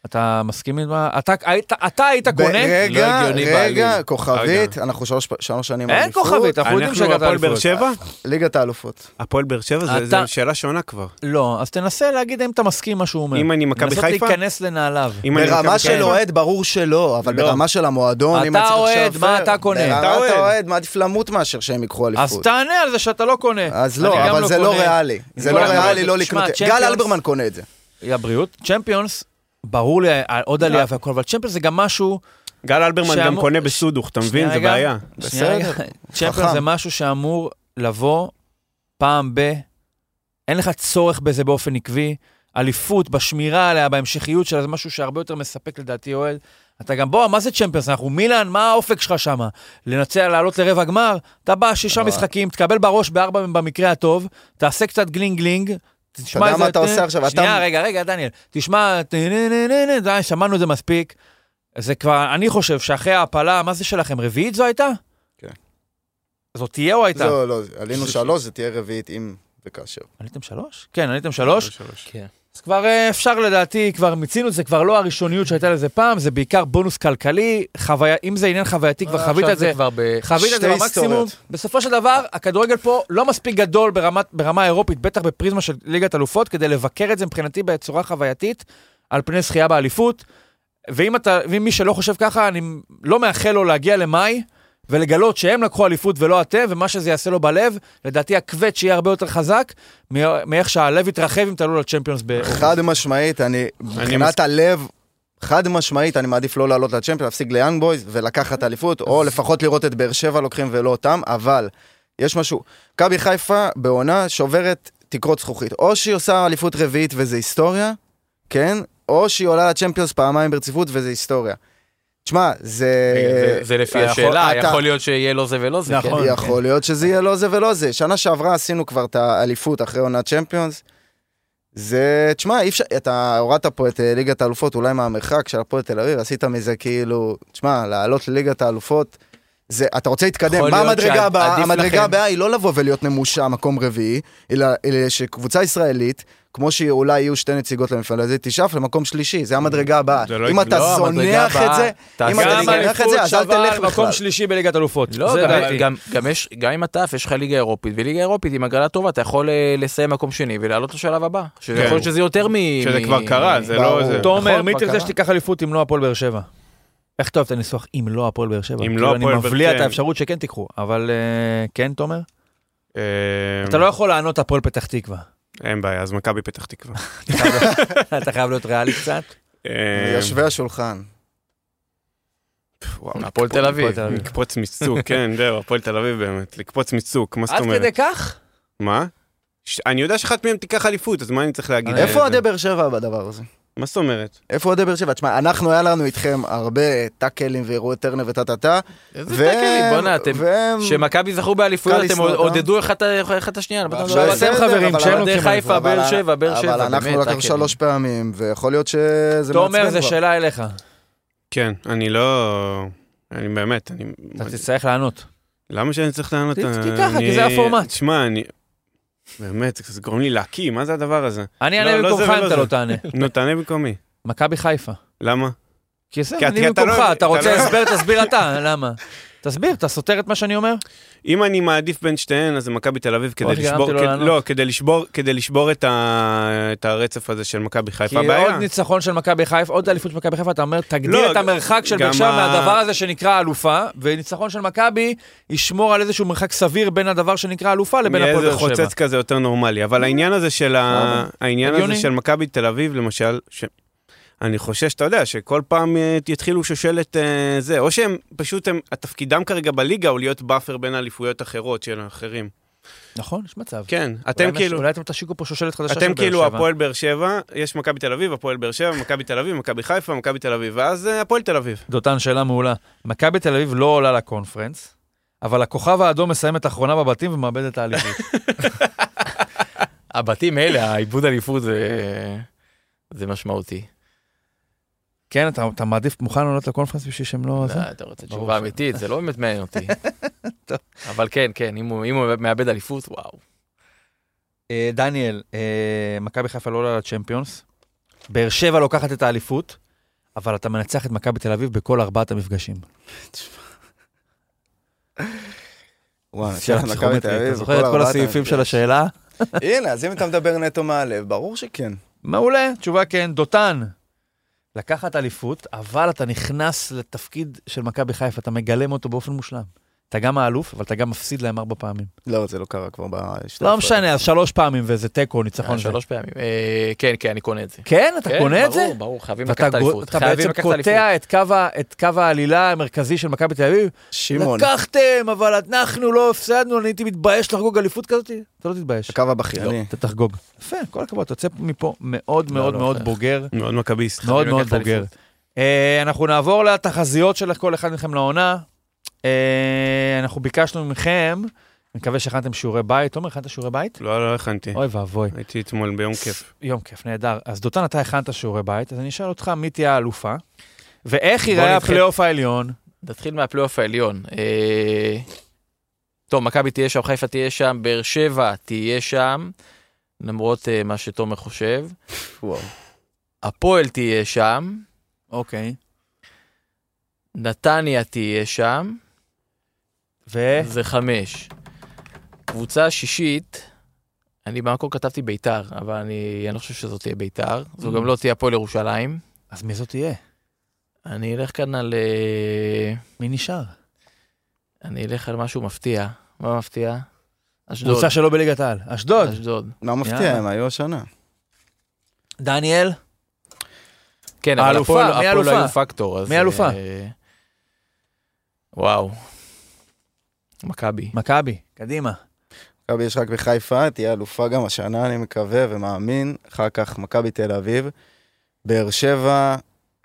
אתה מסכים עם מה? אתה היית- אתה היית קונה?
רגע,
לא הגיוני
רגע,
בעליל.
כוכבית,
רגע.
אנחנו שלוש פ- שלוש שנים
אין
באליפות.
כוכבית, אנחנו יודעים
אנחנו
שהגעת
הפועל באר
אליפות.
שבע?
ליגת האלופות.
הפועל באר שבע זה- זה
אתה-
שאלה שונה כבר.
לא, אז תנסה להגיד אם אתה מסכים עם מה שהוא אומר.
אם אני מכבי
לנסות
חיפה?
להיכנס לנעליו.
אם אני מכבי
ברמה של
חיפה?
אוהד ברור שלא, אבל
לא.
ברמה של המועדון, אם
אתה
אני צריך
אוהד,
לשפר,
מה אתה קונה?
אתה
ברמת
אוהד.
האוהד, מעדיף למות מאשר שהם ייקחו
אז
אליפות.
תענה על זה שאתה לא קונה.
אז
אני
לא,
גם
אבל זה לא
קונה.
ריאלי. זה
כל
לא
הכבוד.
ריאלי לא
תשמע,
לקנות.
צ'מפיונס-
גל אלברמן קונה את זה.
יא בריאות. צ'מפיונס, ברור לי, אה, עוד עלייה והכל, אבל צ'מפיונס זה גם משהו...
גל אלברמן גם
שאמור-
קונה בסודוך, אתה מבין?
שנייה
זה
רגע.
בעיה.
שנייה רגע.
בסדר,
צ'מפיונס
חכם.
זה משהו שאמור לבוא פעם ב... אין לך צורך בזה באופן עקבי. אליפות, בשמירה עליה, בהמשכיות שלה, זה משהו שהרבה יותר מספק לדעתי אוהד. אתה גם, בוא, מה זה צ'מפיונס? אנחנו מילאן, מה האופק שלך שם? לנצח, לעלות לרבע גמר? אתה בא שישה
אבל-
משחקים, תקבל בראש בארבע במקרה הטוב, תעשה קצת גלינג גלינג. תשמע
יודע
איזה-
מה אתה עושה עכשיו?
שנייה,
אתה-
רגע, רגע, דניאל. תשמע, תה, נה, נה, נה, נה, די, שמענו את זה מספיק. זה כבר, אני חושב שאחרי ההעפלה, מה זה שלכם, רביעית זו הייתה?
כן.
זו תהיה או הייתה?
לא, לא, עלינו שלוש, זה תהיה רביעית אם וכאשר.
עליתם שלוש? כן, עליתם שלוש.
שלוש.
אז כבר אה, אפשר לדעתי, כבר מיצינו את זה, כבר לא הראשוניות שהייתה לזה פעם, זה בעיקר בונוס כלכלי, חוויה, אם זה עניין חווייתי, כבר חווית
עכשיו
את אה, זה.
כבר ב...
חווית את זה
שתי
במקסימום.
היסטוריות.
בסופו של דבר, הכדורגל פה לא מספיק גדול ברמת, ברמה האירופית, בטח בפריזמה של ליגת אלופות, כדי לבקר את זה מבחינתי בצורה חווייתית, על פני זכייה באליפות. ואם אתה, ואם מי שלא חושב ככה, אני לא מאחל לו להגיע למאי ולגלות שהם לקחו אליפות ולא אתם, ומה שזה יעשה לו בלב, לדעתי הכווץ שיהיה הרבה יותר חזק, מ- מאיך שהלב יתרחב אם תעלו לצ'מפיונס ב...
חד משמעית, אני, מבחינת הלב, חד משמעית, אני מעדיף לא לעלות לצ'מפיון, להפסיק ליאנג בויז ולקחת אליפות, או לפחות לראות את באר שבע לוקחים ולא אותם, אבל יש משהו, מכבי חיפה בעונה שוברת תקרות זכוכית, או שהיא עושה אליפות רביעית וזה היסטוריה, כן? או שהיא עולה לצ'מפיונס פעמיים ברציפות וזה היסטוריה. תשמע, זה...
רגע, זה- זה לפי
אתה יכול-
השאלה,
אתה-
יכול להיות שיהיה לא זה ולא זה.
אה, נכון.
כן?
יכול להיות שזה יהיה לא זה ולא זה. שנה שעברה עשינו כבר את האליפות אחרי עונת צ'מפיונס. זה, תשמע, אי אפשר, אתה הורדת פה את אה, ליגת האלופות אולי מהמרחק של הפועל תל אביב, עשית מזה כאילו, תשמע, לעלות לליגת האלופות, זה, אתה רוצה להתקדם,
יכול
מה
להיות
המדרגה
שעד-
הבאה?
עדיף לכם.
המדרגה הבאה היא לא לבוא ולהיות נמושה מקום רביעי, אלא, אלא שקבוצה ישראלית, כמו שאולי יהיו שתי נציגות למפעל הזה, תשאף למקום שלישי, זה המדרגה הבאה.
זה לא-
אם
לא,
אתה
המדרגה
זונח את
הבאה,
זה, אם
תעשה
אתה
ליגה.
גם
זונח את זה,
אליפות
אז אל
שווה
תלך בכלל.
מקום שלישי בליגת אלופות.
לא,
זה
גם-
דעתי.
גם- גם יש, גם אם אתה עף, יש לך ליגה אירופית, וליגה אירופית עם הגרלה טובה, אתה יכול אה, לסיים מקום שני ולעלות לשלב הבא. שזה
כן.
יכול להיות שזה יותר מ...
שזה
מ-
כבר קרה, זה לא...
ברור.
זה-
תומר,
נכון,
מי
כבר
תרצה
קרה.
שתיקח אליפות אם לא הפועל באר שבע? איך אתה אוהב את הניסוח אם לא הפועל באר שבע?
אם לא
כאילו,
הפועל
אני
באר-
מבליע את
כן.
האפשרות שכן תיקחו, אבל אה, כן, תומר?
אה,
אתה לא יכול לענות הפועל פתח תקווה.
אין בעיה, אז מכבי פתח תקווה.
אתה חייב להיות ריאלי קצת.
אה,
יושבי השולחן.
וואו,
הפועל תל אביב.
הפועל תל אביב.
לקפוץ מצוק, כן, זהו, הפועל תל אביב באמת, לקפוץ מצוק, מה זאת
עד
אומרת?
כדי כך?
מה? ש- אני יודע שאחת מהם תיקח אליפות, אז מה אני צריך להגיד?
איפה
אה,
אוהדי
זה-
באר שבע בדבר הזה?
מה זאת אומרת?
איפה אוהדי באר שבע? תשמע, אנחנו, היה לנו איתכם הרבה טאקלים ואירועי טרנר וטה-טה-טה.
איזה טאקלים, בואנה, אתם...
והם...
שמכבי זכו באליפויות,
קל
אתם
אה?
לשנוא אותם.
עודדו אחד ה- אחד את השנייה. לא נתנו
אבל
עכשיו
לה-
אתם
בסדר,
חברים,
אבל
כשהם
אוהדי
לוקחים חיפה,
אבל-
באר שבע, באר שבע,
אבל אנחנו
באמת,
לקחנו
טאקלים.
שלוש פעמים, ויכול להיות שזה
תומר, זו שאלה אליך.
כן, אני לא... אני באמת, אני...
אתה תצטרך לענות.
למה שאני צריך לענות?
ת-
אה,
תיקח, כי
אני-
זה הפורמט.
תשמע, אני... באמת, זה זה גורם לי להקיא, מה זה הדבר הזה?
אני
לא,
אענה
לא
במקומך
זה ולא
אם אתה
זה.
לא תענה.
נו, תענה במקומי.
מכבי חיפה.
למה?
כי זה,
כי-
אני
כי אתה לא-
במקומך, אתה
אתה
רוצה
לא-
הסבר, תסביר אתה, למה? תסביר, אתה סותר את מה שאני אומר?
אם אני מעדיף בין שתיהן, אז זה מכבי תל אביב כדי
אוי, גרמתי
לשבור...
לו
כד-
לענות.
לא, כדי לשבור, כדי לשבור את ה- את הרצף הזה של מכבי
כי
חיפה. הבעיה-
עוד ניצחון של מכבי חיפה, עוד אליפות של מכבי חיפה, אתה אומר, תגדיר
לא,
את המרחק של באר
גם
שבע
ה-
מהדבר הזה שנקרא אלופה, וניצחון של מכבי ישמור על איזשהו מרחק סביר בין הדבר שנקרא אלופה לבין
יהיה
הפועל
איזה
באר שבע.
חוצץ כזה יותר נורמלי. אבל העניין הזה של ה... העניין הזה
הגיוני.
של מכבי תל אביב, למשל, ש... אני חושש, אתה יודע, שכל פעם אה, יתחילו שושלת אה, זה, או שהם פשוט, הם, התפקידם כרגע בליגה הוא להיות באפר בין אליפויות אחרות של האחרים.
נכון, יש מצב.
כן, אתם
אולי
כאילו...
אולי אתם תשיקו פה שושלת חדשה של באר
אתם
שבע.
כאילו הפועל באר שבע, יש מכבי תל אביב, הפועל באר שבע, מכבי תל אביב, מכבי חיפה, מכבי תל אביב, ואז אה, הפועל תל אביב.
זו אותה שאלה מעולה. מכבי תל אביב לא עולה לקונפרנס, אבל הכוכב האדום מסיים את האחרונה בבתים ומאבד את האליפות.
הבתים האלה, העיבוד אליפות זה... זה משמעותי.
כן, אתה, אתה מעדיף, מוכן לעלות לקונפרנס בשביל שהם לא... זה?
לא, אתה רוצה
ברור
תשובה
ש-
אמיתית, זה לא באמת מעניין אותי.
טוב.
אבל כן, כן, אם הוא- אם הוא מאבד אליפות, וואו.
אה, דניאל, אה, מכבי חיפה לא עולה לצ'מפיונס, באר שבע לוקחת את האליפות, אבל אתה מנצח את מכבי תל אביב בכל ארבעת המפגשים.
וואי,
שאלה
מכבי תל
פסיכומטרית,
אביב,
נכון, אתה זוכר את כל
ארבעת
הסעיפים של
המפגש.
השאלה?
הנה, אז אם אתה מדבר נטו מהלב, ברור שכן.
מעולה, תשובה כן. דותן, לקחת אליפות, אבל אתה נכנס לתפקיד של מכבי חיפה, אתה מגלם אותו באופן מושלם. אתה גם האלוף, אבל אתה גם מפסיד להם ארבע פעמים.
לא, זה לא קרה כבר בשתי...
לא
הפרק.
משנה, אז שלוש פעמים וזה תיקו, ניצחון.
אה,
נכון, זה.
שלוש פעמים. אה, כן, כן, אני קונה את זה.
כן, אתה
כן,
קונה את זה?
ברור, ברור, חייבים
ואתה
לקחת
גו-
אליפות.
אתה
חייבים
בעצם
לקחת אליפות.
קוטע את קו ה- את קו העלילה המרכזי של מכבי תל אביב.
שמעון,
לקחתם, אבל אנחנו לא הפסדנו, אני הייתי מתבייש לחגוג אליפות כזאת? אתה לא תתבייש.
הקו הבכייני.
אתה תחגוג. יפה, כל הכבוד, אתה יוצא מפה מאוד מאוד
לא,
מאוד
אחר.
בוגר.
מאוד מכביסט.
מאוד מאוד
לקחת
בוגר.
אליפות.
אה, אנחנו נעבור לתחזיות של כל אחד מכם לעונה. אה, אנחנו ביקשנו מכם, אני מקווה שהכנתם שיעורי בית. תומר, הכנת שיעורי בית?
לא, לא הכנתי.
אוי ואבוי.
הייתי אתמול ביום כיף.
יום כיף, נהדר. אז דותן, אתה הכנת שיעורי בית, אז אני אשאל אותך מי תהיה האלופה, ואיך ייראה
נתחיל.
הפלייאוף העליון.
נתחיל מהפלייאוף העליון. אה, טוב, מכבי תהיה שם, חיפה תהיה שם, באר שבע תהיה שם, למרות אה, מה שתומר חושב.
וואו.
הפועל תהיה שם,
אוקיי.
נתניה תהיה שם,
ו...
זה חמש. קבוצה שישית, אני במקור כתבתי ביתר, אבל אני, אני לא חושב שזאת תהיה ביתר, זו
Mm.
גם לא תהיה הפועל ירושלים.
אז מי זאת תהיה?
אני אלך כאן על... אה,
מי נשאר?
אני אלך על משהו מפתיע. מה מפתיע? אשדוד.
קבוצה שלא בליגת העל. אשדוד.
אשדוד.
מה מפתיע,
יאללה.
הם היו השנה.
דניאל?
כן, אבל
האלופה,
הפועל
מי
הפועל
האלופה?
היו פקטור. אז,
מי האלופה?
אה, וואו. מכבי.
מכבי. קדימה.
מכבי יש רק בחיפה, תהיה אלופה גם השנה, אני מקווה ומאמין. אחר כך מכבי תל אביב, באר שבע,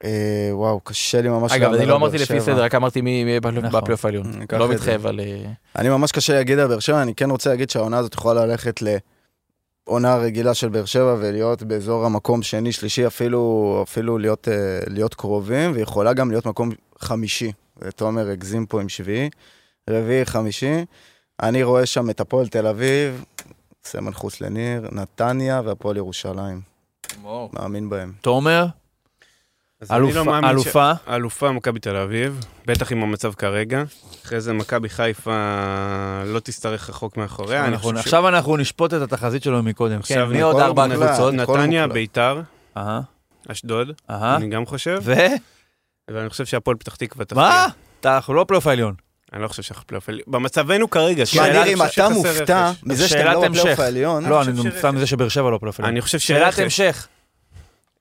אה, וואו, קשה לי ממש...
אגב, אני
להמר
לא
על
אמרתי
באר
לפי
שבע.
סדר, רק אמרתי מי מי בפל-
נכון.
בפלייאוף העליון.
אני אקח
לא
את זה.
מתחייב על... אה,
אני ממש קשה להגיד על באר שבע, אני כן רוצה להגיד שהעונה הזאת יכולה ללכת לעונה רגילה של באר שבע ולהיות באזור המקום שני, שלישי, אפילו, אפילו להיות, אה, להיות קרובים, ויכולה גם להיות מקום חמישי. תומר הגזים פה עם שביעי, רביעי, חמישי. אני רואה שם את הפועל תל אביב, סמל חוץ לניר, נתניה והפועל ירושלים. מאמין בהם.
תומר?
אז אני לא
אלופה-
מאמין ש-
אלופה?
אלופה מכבי תל אביב, בטח עם המצב כרגע. אחרי זה מכבי חיפה לא תצטרך רחוק מאחוריה. אני
אנחנו-
חושב ש-
עכשיו אנחנו נשפוט את התחזית שלו מקודם. כן,
עכשיו
מי
נ-
עוד
כל
ארבע
מוקלט.
הקבוצות?
הכל
נתניה,
מוקלט.
ביתר,
אהה,
אשדוד,
אהה.
לא- אני גם חושב,
אה? ו?
ואני חושב שהפועל פתח תקווה תפתיע.
מה? אתה- אנחנו לא פלייאוף העליון.
אני לא חושב שאנחנו פלייאוף עליון. במצבנו כרגע,
מה,
שאלה,
ניר,
אני
אם
חושב
אתה
שחסר
מופתע
רכש.
מזה שאתם
שאלת
לא בפלייאוף
המשך.
העליון,
לא, אני
חושב
מופתע מזה שבאר שבע לא פלייאוף עליון.
אני חושב
שאלת
שרכש,
המשך.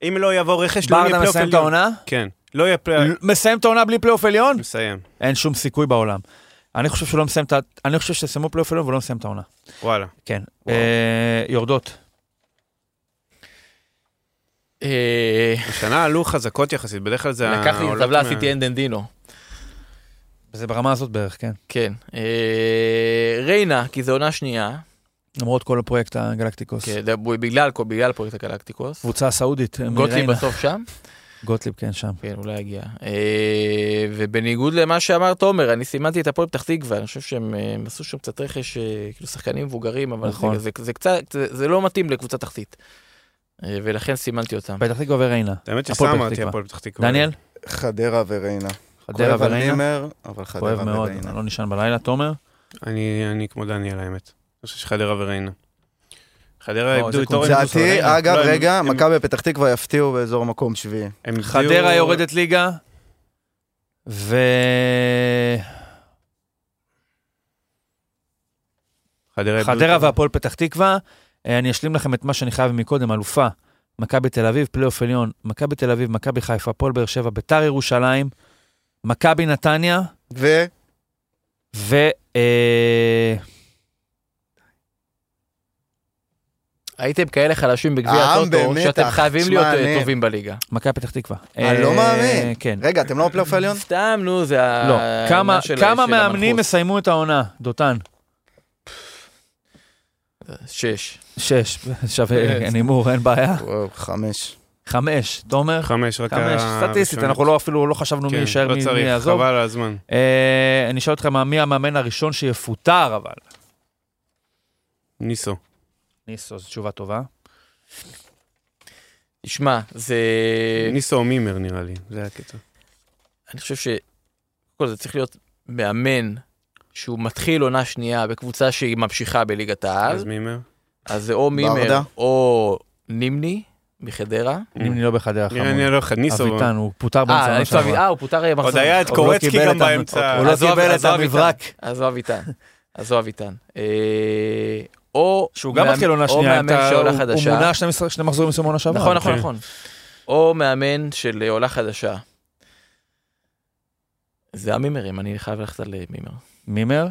אם לא יבוא רכש, לא יהיה
ברדה
פלייאוף
מסיים את
עליון.
העונה?
כן, לא יהיה פלייאוף.
מסיים את העונה בלי פלייאוף עליון?
מסיים,
אין שום סיכוי בעולם. אני חושב שלא מסיים את ה... אני חושב שסיימו פלייאוף עליון ולא מסיים את העונה.
וואלה.
כן. אה, יורדות.
אה,
השנה עלו חזקות יחסית, בדרך כלל זה...
לקחתי את
העולות
הטבלה,
מה-
עשיתי אנדנדינו.
זה ברמה הזאת בערך, כן.
כן. אה, ריינה, כי זו עונה שנייה,
למרות כל הפרויקט הגלקטיקוס.
כן, בגלל בגלל פרויקט הגלקטיקוס.
קבוצה הסעודית. אה,
גוטליב
מריינה.
בסוף שם?
גוטליב, כן, שם.
כן, אולי יגיע. אה, ובניגוד למה שאמר תומר, אני סימנתי את הפועל פתח תקווה, אני חושב שהם אה, הם עשו שם קצת רכש, אה, כאילו שחקנים מבוגרים, אבל
נכון.
זה- זה- זה קצת, זה- זה לא מתאים לקבוצה תחתית. אה, ולכן סימנתי אותם.
פתח תקווה וריינה.
האמת
הפועל
שסתם
פתח
אמרתי
תקווה.
הפועל פתח תקווה.
דניאל?
חדרה וריינה.
חדרה
כואב על
וריינה?
נימר, אבל חדרה
כואב מאוד,
וריינה.
אני לא נשען בלילה. תומר?
אני, אני כמו דניאל, האמת. אני חושב שחדרה וריינה. חדרה
לא, זה
איבדו את
קבוצה
אורן בוסו.
לדעתי,
וריינה.
אגב,
לא, הם-
רגע,
הם-
מכבי פתח תקווה יפתיעו באזור מקום שביעי.
הם איבדו-
חדרה יורדת ליגה, ו...
חדרה איבדו
חדרה
את-
והפועל פתח תקווה. אה, אני אשלים לכם את מה שאני חייב מקודם, אלופה, מכבי תל אביב, פלייאוף עליון, מכבי תל אביב, מכבי חיפה, הפועל באר שבע, ביתר ירושלים, מכבי נתניה,
ו...
ו... אה,
הייתם כאלה חלשים בגביע
העם
הטוטו,
במתח.
שאתם חייבים
תשמע,
להיות
אני-
אה, טובים בליגה.
מכבי פתח תקווה.
אני לא
אה,
מאמין.
כן.
רגע, אתם לא בפלייאוף העליון?
סתם, נו, זה ה...
לא. כמה-
העניין של-
כמה
של
מאמנים
המנחוס.
יסיימו את העונה, דותן?
שש.
שש,
כן.
שווה, אין הימור, אין בעיה.
וואו, חמש.
חמש, תומר?
חמש, רק
חמש, סטטיסטית, אנחנו לא אפילו לא חשבנו מי
כן,
יישאר,
לא
מי- מי
צריך,
יעזוב.
חבל על הזמן.
אה, אני אשאל אותך מה- מי המאמן הראשון שיפוטר, אבל.
ניסו.
ניסו, זו תשובה טובה.
תשמע, זה...
אה.
ניסו או מימר נראה לי, זה הקטע.
אני חושב ש... כל זה צריך להיות מאמן שהוא מתחיל עונה שנייה בקבוצה שהיא ממשיכה בליגת
אה?
העל,
אז מימר?
אז זה או מימר
ברדה.
או נימני מחדרה.
נימני לא בחדרה
נראה לי
חמור.
לא אחד, ניסו.
אביטן, הוא פוטר
אה,
באמצע.
איפה אבי- אה, הוא פוטר אה, מחזור.
עוד היה את
אוקיי.
קורצקי
קיבל
גם
את ה-
באמצע.
הוא לא
עזוב-
קיבל את
עזוב איתן.
המברק.
עזוב איתן, עזוב איתן. אה, או...
שהוא גם
מאמן-
מתחיל עונה
או
שנייה,
מאמן
אתה-
של עולה
הוא-
חדשה.
הוא מונה שני משחק- שני מחזורים מסוים עונה שעברה.
נכון, נכון,
כן.
נכון. או מאמן של עולה חדשה. זה המימרים, אני חייב ללכת על אה, מימר.
מימר?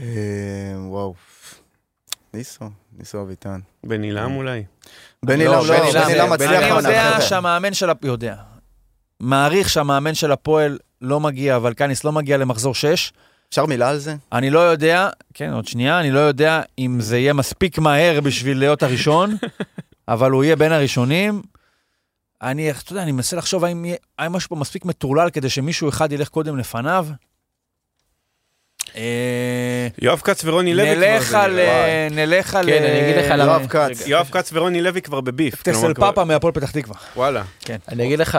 אה, וואו. ניסו, ניסו אביטן.
בן עילם אולי?
בן
לא,
עילם
בן
לא,
עילם,
בן עילם
בן
מצליח
אני
עילם,
עונה.
יודע
חבר'ה.
שהמאמן של... הפ- יודע. מעריך שהמאמן של הפועל לא מגיע, ולקניס לא מגיע למחזור 6.
אפשר מילה על זה?
אני לא יודע, כן, עוד שנייה, אני לא יודע אם זה יהיה מספיק מהר בשביל להיות הראשון, אבל הוא יהיה בין הראשונים. אני, אתה יודע, אני מנסה לחשוב האם יהיה- האם משהו פה מספיק מטורלל כדי שמישהו אחד ילך קודם לפניו. אה,
יואב כץ ורוני
לא
לוי כבר
נלך
זה
על...
נראה.
אה, נלך על... אה,
כן, אני אגיד לך למה.
אה, יואב כץ.
רגע.
יואב כץ ורוני לוי כבר בביף.
טסל
כלומר, כבר-
פאפה מהפועל פתח תקווה.
וואלה.
אני אגיד לך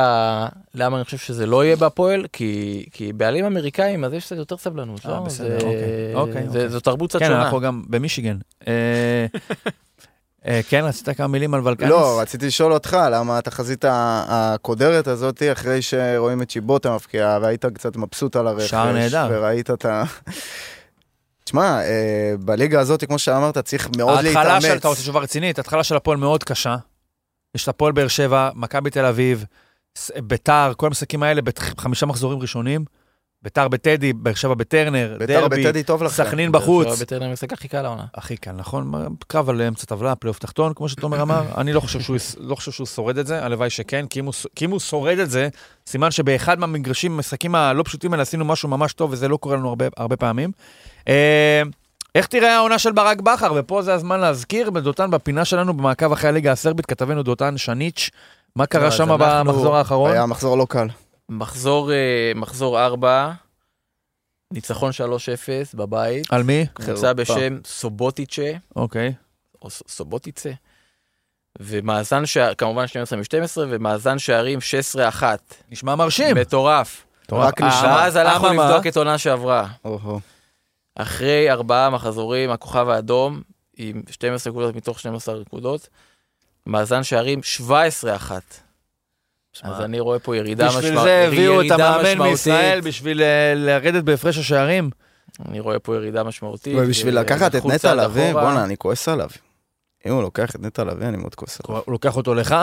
למה אני חושב שזה לא יהיה בהפועל, כי, כי בעלים אמריקאים, אז יש קצת יותר סבלנות,
אה,
לא?
בסדר,
זה,
אוקיי,
זה,
אוקיי,
זה,
אוקיי.
זו תרבות קצת
כן,
שונה.
אנחנו גם במישיגן. אה, אה, כן, רצית כמה מילים על ולקניס?
לא, רציתי לשאול אותך, למה התחזית ה- הקודרת הזאת, אחרי שרואים את שיבוטה מפקיעה, והיית קצת מבסוט על הרכש.
שער נהדר.
וראית את ה... תשמע, אה, בליגה הזאת, כמו שאמרת, צריך מאוד
ההתחלה
להתאמץ.
של, אתה רוצה תשובה רצינית, ההתחלה של הפועל מאוד קשה. יש את הפועל באר שבע, מכבי תל אביב, ס- ביתר, כל המשחקים האלה בחמישה מחזורים ראשונים. ביתר בטדי, באר שבע בטרנר,
ביתר
דרבי,
בטדי טוב לכם.
סכנין
זה
בחוץ.
שהיה בטרנר המשחק הכי קל העונה.
הכי קל, נכון? מה, קרב על אמצע טבלה, פלייאוף תחתון, כמו שתומר אמר. אני לא חושב, שהוא, יס- לא חושב שהוא שורד את זה, הלוואי שכן, כי אם, הוא, ש- כי אם הוא שורד את זה, סימן שבאחד מהמגרשים, המשחקים הלא פשוטים האלה, עשינו משהו ממש טוב, וזה לא קורה לנו הרבה, הרבה פעמים. אה, איך תראה העונה של ברק בכר? ופה זה הזמן להזכיר, בדותן בפינה שלנו, במעקב אחרי הליגה הסרבית, כתבנו דותן שניץ', מה
לא,
קרה
אז
שם
אנחנו-
במחזור האחרון?
היה מחזור לא קל.
מחזור, אה, מחזור 4, ניצחון 3-0 בבית,
על מי?
קבוצה בשם סובוטיצ'ה,
אוקיי.
או ס- סובוטיצה, ומאזן, שער, כמובן 12 מ-12, ומאזן שערים 16-1.
נשמע מרשים.
מטורף. אה,
רק נשמע.
אז הלכנו
אממה.
לבדוק את עונה שעברה.
אוהו.
אחרי ארבעה מחזורים, הכוכב האדום, עם 12 נקודות מתוך 12 נקודות, מאזן שערים 17-1. אז אני רואה פה ירידה משמעותית.
בשביל זה הביאו את המאמן מישראל, בשביל אה, לרדת בהפרש השערים.
אני רואה פה ירידה משמעותית.
ובשביל
אה,
לקחת את
לחוצה,
נטע לביא,
לאחורה.
בואנה, אני כועס עליו. אם הוא לוקח את נטע לביא, אני מאוד כועס עליו.
הוא לוקח אותו לך?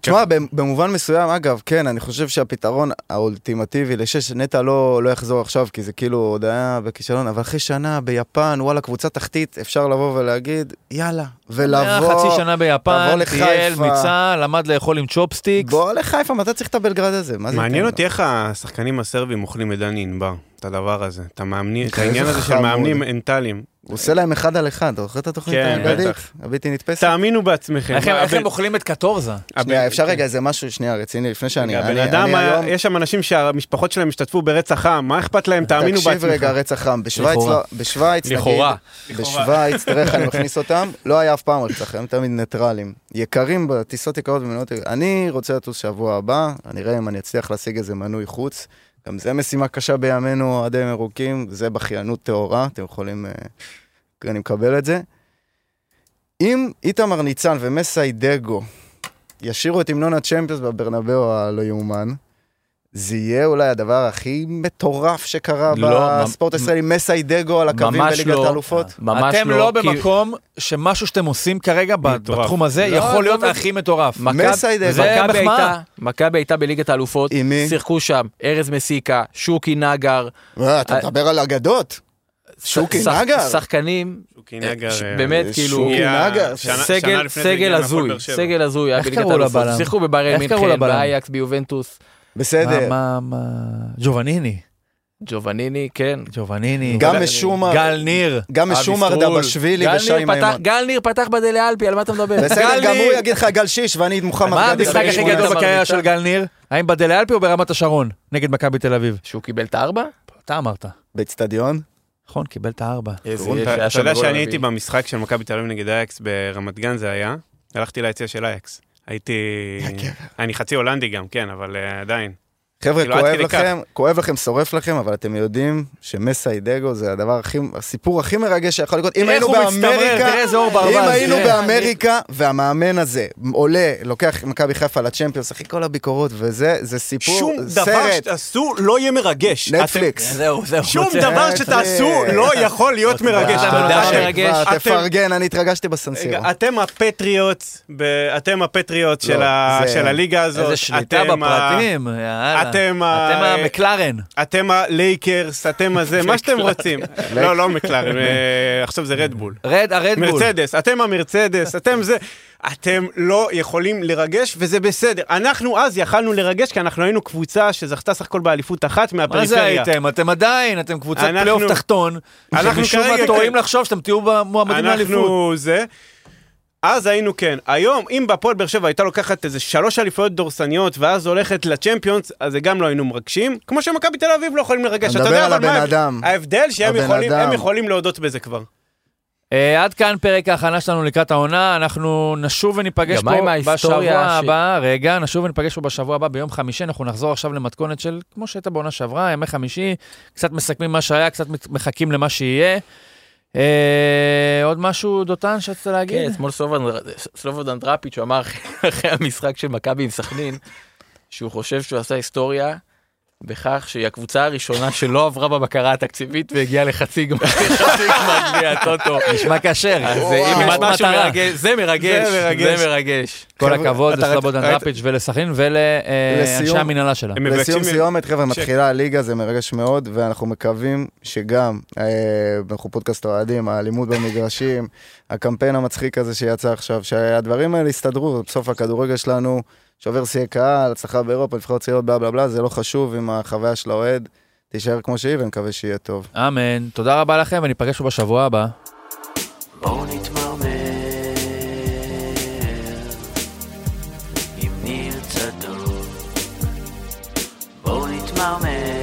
תשמע, במ- במובן מסוים, אגב, כן, אני חושב שהפתרון האולטימטיבי לשש, נטע לא, לא יחזור עכשיו, כי זה כאילו עוד היה בכישלון, אבל אחרי שנה ביפן, וואלה, קבוצה תחתית, אפשר לבוא ולהגיד, יאללה,
היה
ולבוא...
חצי שנה ביפן,
תבוא
טייל
לחיפה.
מצה"ל, למד לאכול עם צ'ופסטיקס.
בוא לחיפה, מתי צריך את הבלגרד הזה? מה זה כן, ייתן
מעניין
לו?
אותי איך השחקנים הסרבים אוכלים את דני ענבר, את הדבר הזה, את המאמני- את
איזה
העניין הזה של
חמוד.
מאמנים מנטליים.
הוא עושה להם אחד על אחד, אתה זוכר את התוכנית
כן,
הבלגרדית?
בטח.
הבלתי נתפסת?
תאמינו בעצמכם.
איך הם- איך
הבן-
הם אוכלים את קטורזה?
הבן-
שנייה, אפשר
כן.
רגע איזה משהו, שנייה, רציני, לפני שאני...
הבן
אני-
אדם,
אני
היה-
היום-
יש שם אנשים שהמשפחות שלהם השתתפו ברצח עם, מה אכפת להם? תאמינו בעצמכם.
תקשיב
אה,
רגע, רצח עם. בשוויץ,
לכאורה.
לא- בשוויץ, נגיד,
לכאורה.
בשוויץ, תראה איך אני מכניס אותם, לא היה אף פעם רצח, הם תמיד ניטרלים. יקרים בטיסות יקרות במדינות... אני רוצה לטוס שבוע הבא, אני אראה אם אני אצליח להשיג איזה מנוי חוץ. גם זה משימה קשה בימינו, אוהדים ירוקים, זה בכיינות טהורה, אתם יכולים... אה, אני מקבל את זה. אם איתמר ניצן ומסיידגו ישירו את המנון הצ'מפיונס בברנבאו הלא יאומן, זה יהיה אולי הדבר הכי מטורף שקרה
לא,
בספורט
ממ-
הישראלי, מסיידגו על הקווים
ממש
בליגת
לא.
האלופות.
ממש
אתם
לא
לא
כי-
במקום שמשהו שאתם עושים כרגע ב-
מטורף.
בתחום הזה
לא,
יכול להיות
לא,
הכי מטורף.
מכבי-
מסיידגו.
זה
מכבי
מחמאה.
הייתה- מכבי הייתה בליגת האלופות,
עם מי?
שיחקו שם ארז מסיקה, שוקי נגר,
אה, אתה מדבר על אגדות? שוקי
שח-
נגר.
שחקנים,
שוקי
אה,
נגר.
ש-
אה,
באמת,
אה,
כאילו,
שוקי
הגיע-
נגר.
שנה- שנה
סגל,
לפני זה הגיע
סגל
להפועל
הזוי,
באר שבע.
סגל הזוי, היה
איך
בליגת
קראו
האלופות,
לבלם?
שיחקו בבארל
איך קראו
מינכן,
לבלם?
באייקס, ביובנטוס,
מה,
בסדר.
מה, מה... ג'ובניני.
ג'ובניני, כן.
ג'ובניני.
גם משומר,
גל ניר.
גם
אבי
משומר
סטרול.
דבשווילי
גל ניר
ושי
פתח-
מימון.
גל ניר פתח בדלה אלפי, על מה אתה מדבר?
בסדר,
גל
גם הוא
ניר.
יגיד לך גל שיש ואני את מוחמד
מה
גדל
המשחק
המשחק
בן
הכי
שמונה
גדול
עשר.
18.
בקריירה של גל ניר? האם בדלה אלפי או ברמת השרון? נגד מכבי תל אביב.
שהוא קיבל את הארבע?
אתה אמרת.
באצטדיון?
נכון, קיבל את הארבע.
איזה
אתה-
יש, היה
אתה
שם
יודע
גול
שאני
רביעי.
הייתי במשחק של מכבי תל אביב נגד אייקס ברמת גן זה היה, הלכתי ליציע של אייקס. הייתי... אני חצי הולנדי גם, כן, אבל אה, עדיין.
חבר'ה,
כאילו, עד
כואב
כדי
לכם, כואב לכם, שורף לכם, אבל אתם יודעים שמסיידגו זה הדבר הכי, הסיפור הכי מרגש שיכול לקרות. אם
איך
היינו
הוא מצטמרר,
באמריקה,
תראה איזה אור ברווז.
אם היינו
כן.
תראה.
באמריקה, והמאמן הזה עולה, לוקח מכבי חיפה לצ'מפיונס, אחי כל הביקורות, וזה, זה סיפור,
שום דבר
סרט,
שתעשו לא יהיה מרגש.
נטפליקס.
זהו, זהו.
אתם- שום
רוצה-
דבר שתעשו לא יכול להיות מרגש.
אתה
תודה
יודע
אתם-
מרגש.
שכבר,
אתם-
תפרגן, אני התרגשתי בסנסירו.
אתם הפטריוט, ב- אתם הפטריוט של
לא,
ה-
זה-
של הליגה הזאת.
איזה שליטה
אתם ה-
בפרטים. יאללה.
אתם ה-
אתם המקלרן.
אתם הלייקרס, אתם הזה, מה שאתם רוצים. לא, לא מקלרן, אה, עכשיו זה רדבול.
רד, הרדבול.
מרצדס, אתם המרצדס, אתם זה. אתם לא יכולים לרגש, וזה בסדר. אנחנו אז יכלנו לרגש, כי אנחנו היינו קבוצה שזכתה סך הכל באליפות אחת
מה זה
מהפריפריה.
הייתם? אתם עדיין, אתם קבוצת
אנחנו-
פלייאוף תחתון,
אנחנו
שמשום מה
כרגע-
טועים לחשוב שאתם תהיו במועמדים לאליפות.
אנחנו זה. אז היינו כן. היום, אם בהפועל באר שבע הייתה לוקחת איזה שלוש אליפויות דורסניות, ואז הולכת לצ'מפיונס, אז זה גם לא היינו מרגשים. כמו שמכבי תל אביב לא יכולים לרגש.
אני
אתה
מדבר
יודע,
על
אבל מה
הבן אדם.
ההבדל שהם
הבן
יכולים,
אדם.
הם יכולים להודות בזה כבר.
אה, עד כאן פרק ההכנה שלנו לקראת העונה, אנחנו נשוב וניפגש
גם מה עם
פה בשבוע
ההיסטוריה ש-
הבא, רגע, נשוב וניפגש פה בשבוע הבא ביום חמישי, אנחנו נחזור עכשיו למתכונת של, כמו שהייתה בעונה שעברה, ימי חמישי, קצת מסכמים מה שהיה, קצת מת- מחכים למה שיהיה. אה, עוד משהו, דותן, שרצית
כן,
להגיד?
אתמול סלובודן- סלובודן דראפיץ' הוא אמר אחרי המשחק של מכבי עם סכנין, שהוא חושב שהוא עשה היסטוריה בכך שהיא הקבוצה הראשונה שלא עברה בבקרה התקציבית והגיעה לחצי גמר חצי גמר גביע הטוטו.
נשמע כשר.
אז זה- אם
כמעט
יש משהו
מטרה.
מרגש, זה מרגש,
זה מרגש.
זה מרגש.
כל
חבר'ה,
הכבוד
אתה ראית-
לסלובודן
אה,
ראית-
דראפיץ' ולסכנין ולאנשי
לסיום-
אה, המנהלה שלה.
הם
לסיום
מבקשים...
סיומת, חבר'ה,
ש-
מתחילה הליגה, זה מרגש מאוד, ואנחנו מקווים שגם, אה, אנחנו פודקאסט אוהדים, האלימות במגרשים, הקמפיין המצחיק הזה שיצא עכשיו, שהדברים האלה יסתדרו, בסוף הכדורגל שלנו שובר שיאי קהל, הצלחה באירופה, נבחרות צעירות, בלה בלה בלה, זה לא חשוב אם החוויה של האוהד תישאר כמו שהיא, ונקווה שיהיה טוב.
אמן. תודה רבה לכם, וניפגש פה בשבוע הבא.
בואו נתמרמר עם ניר צדוק בואו נתמרמר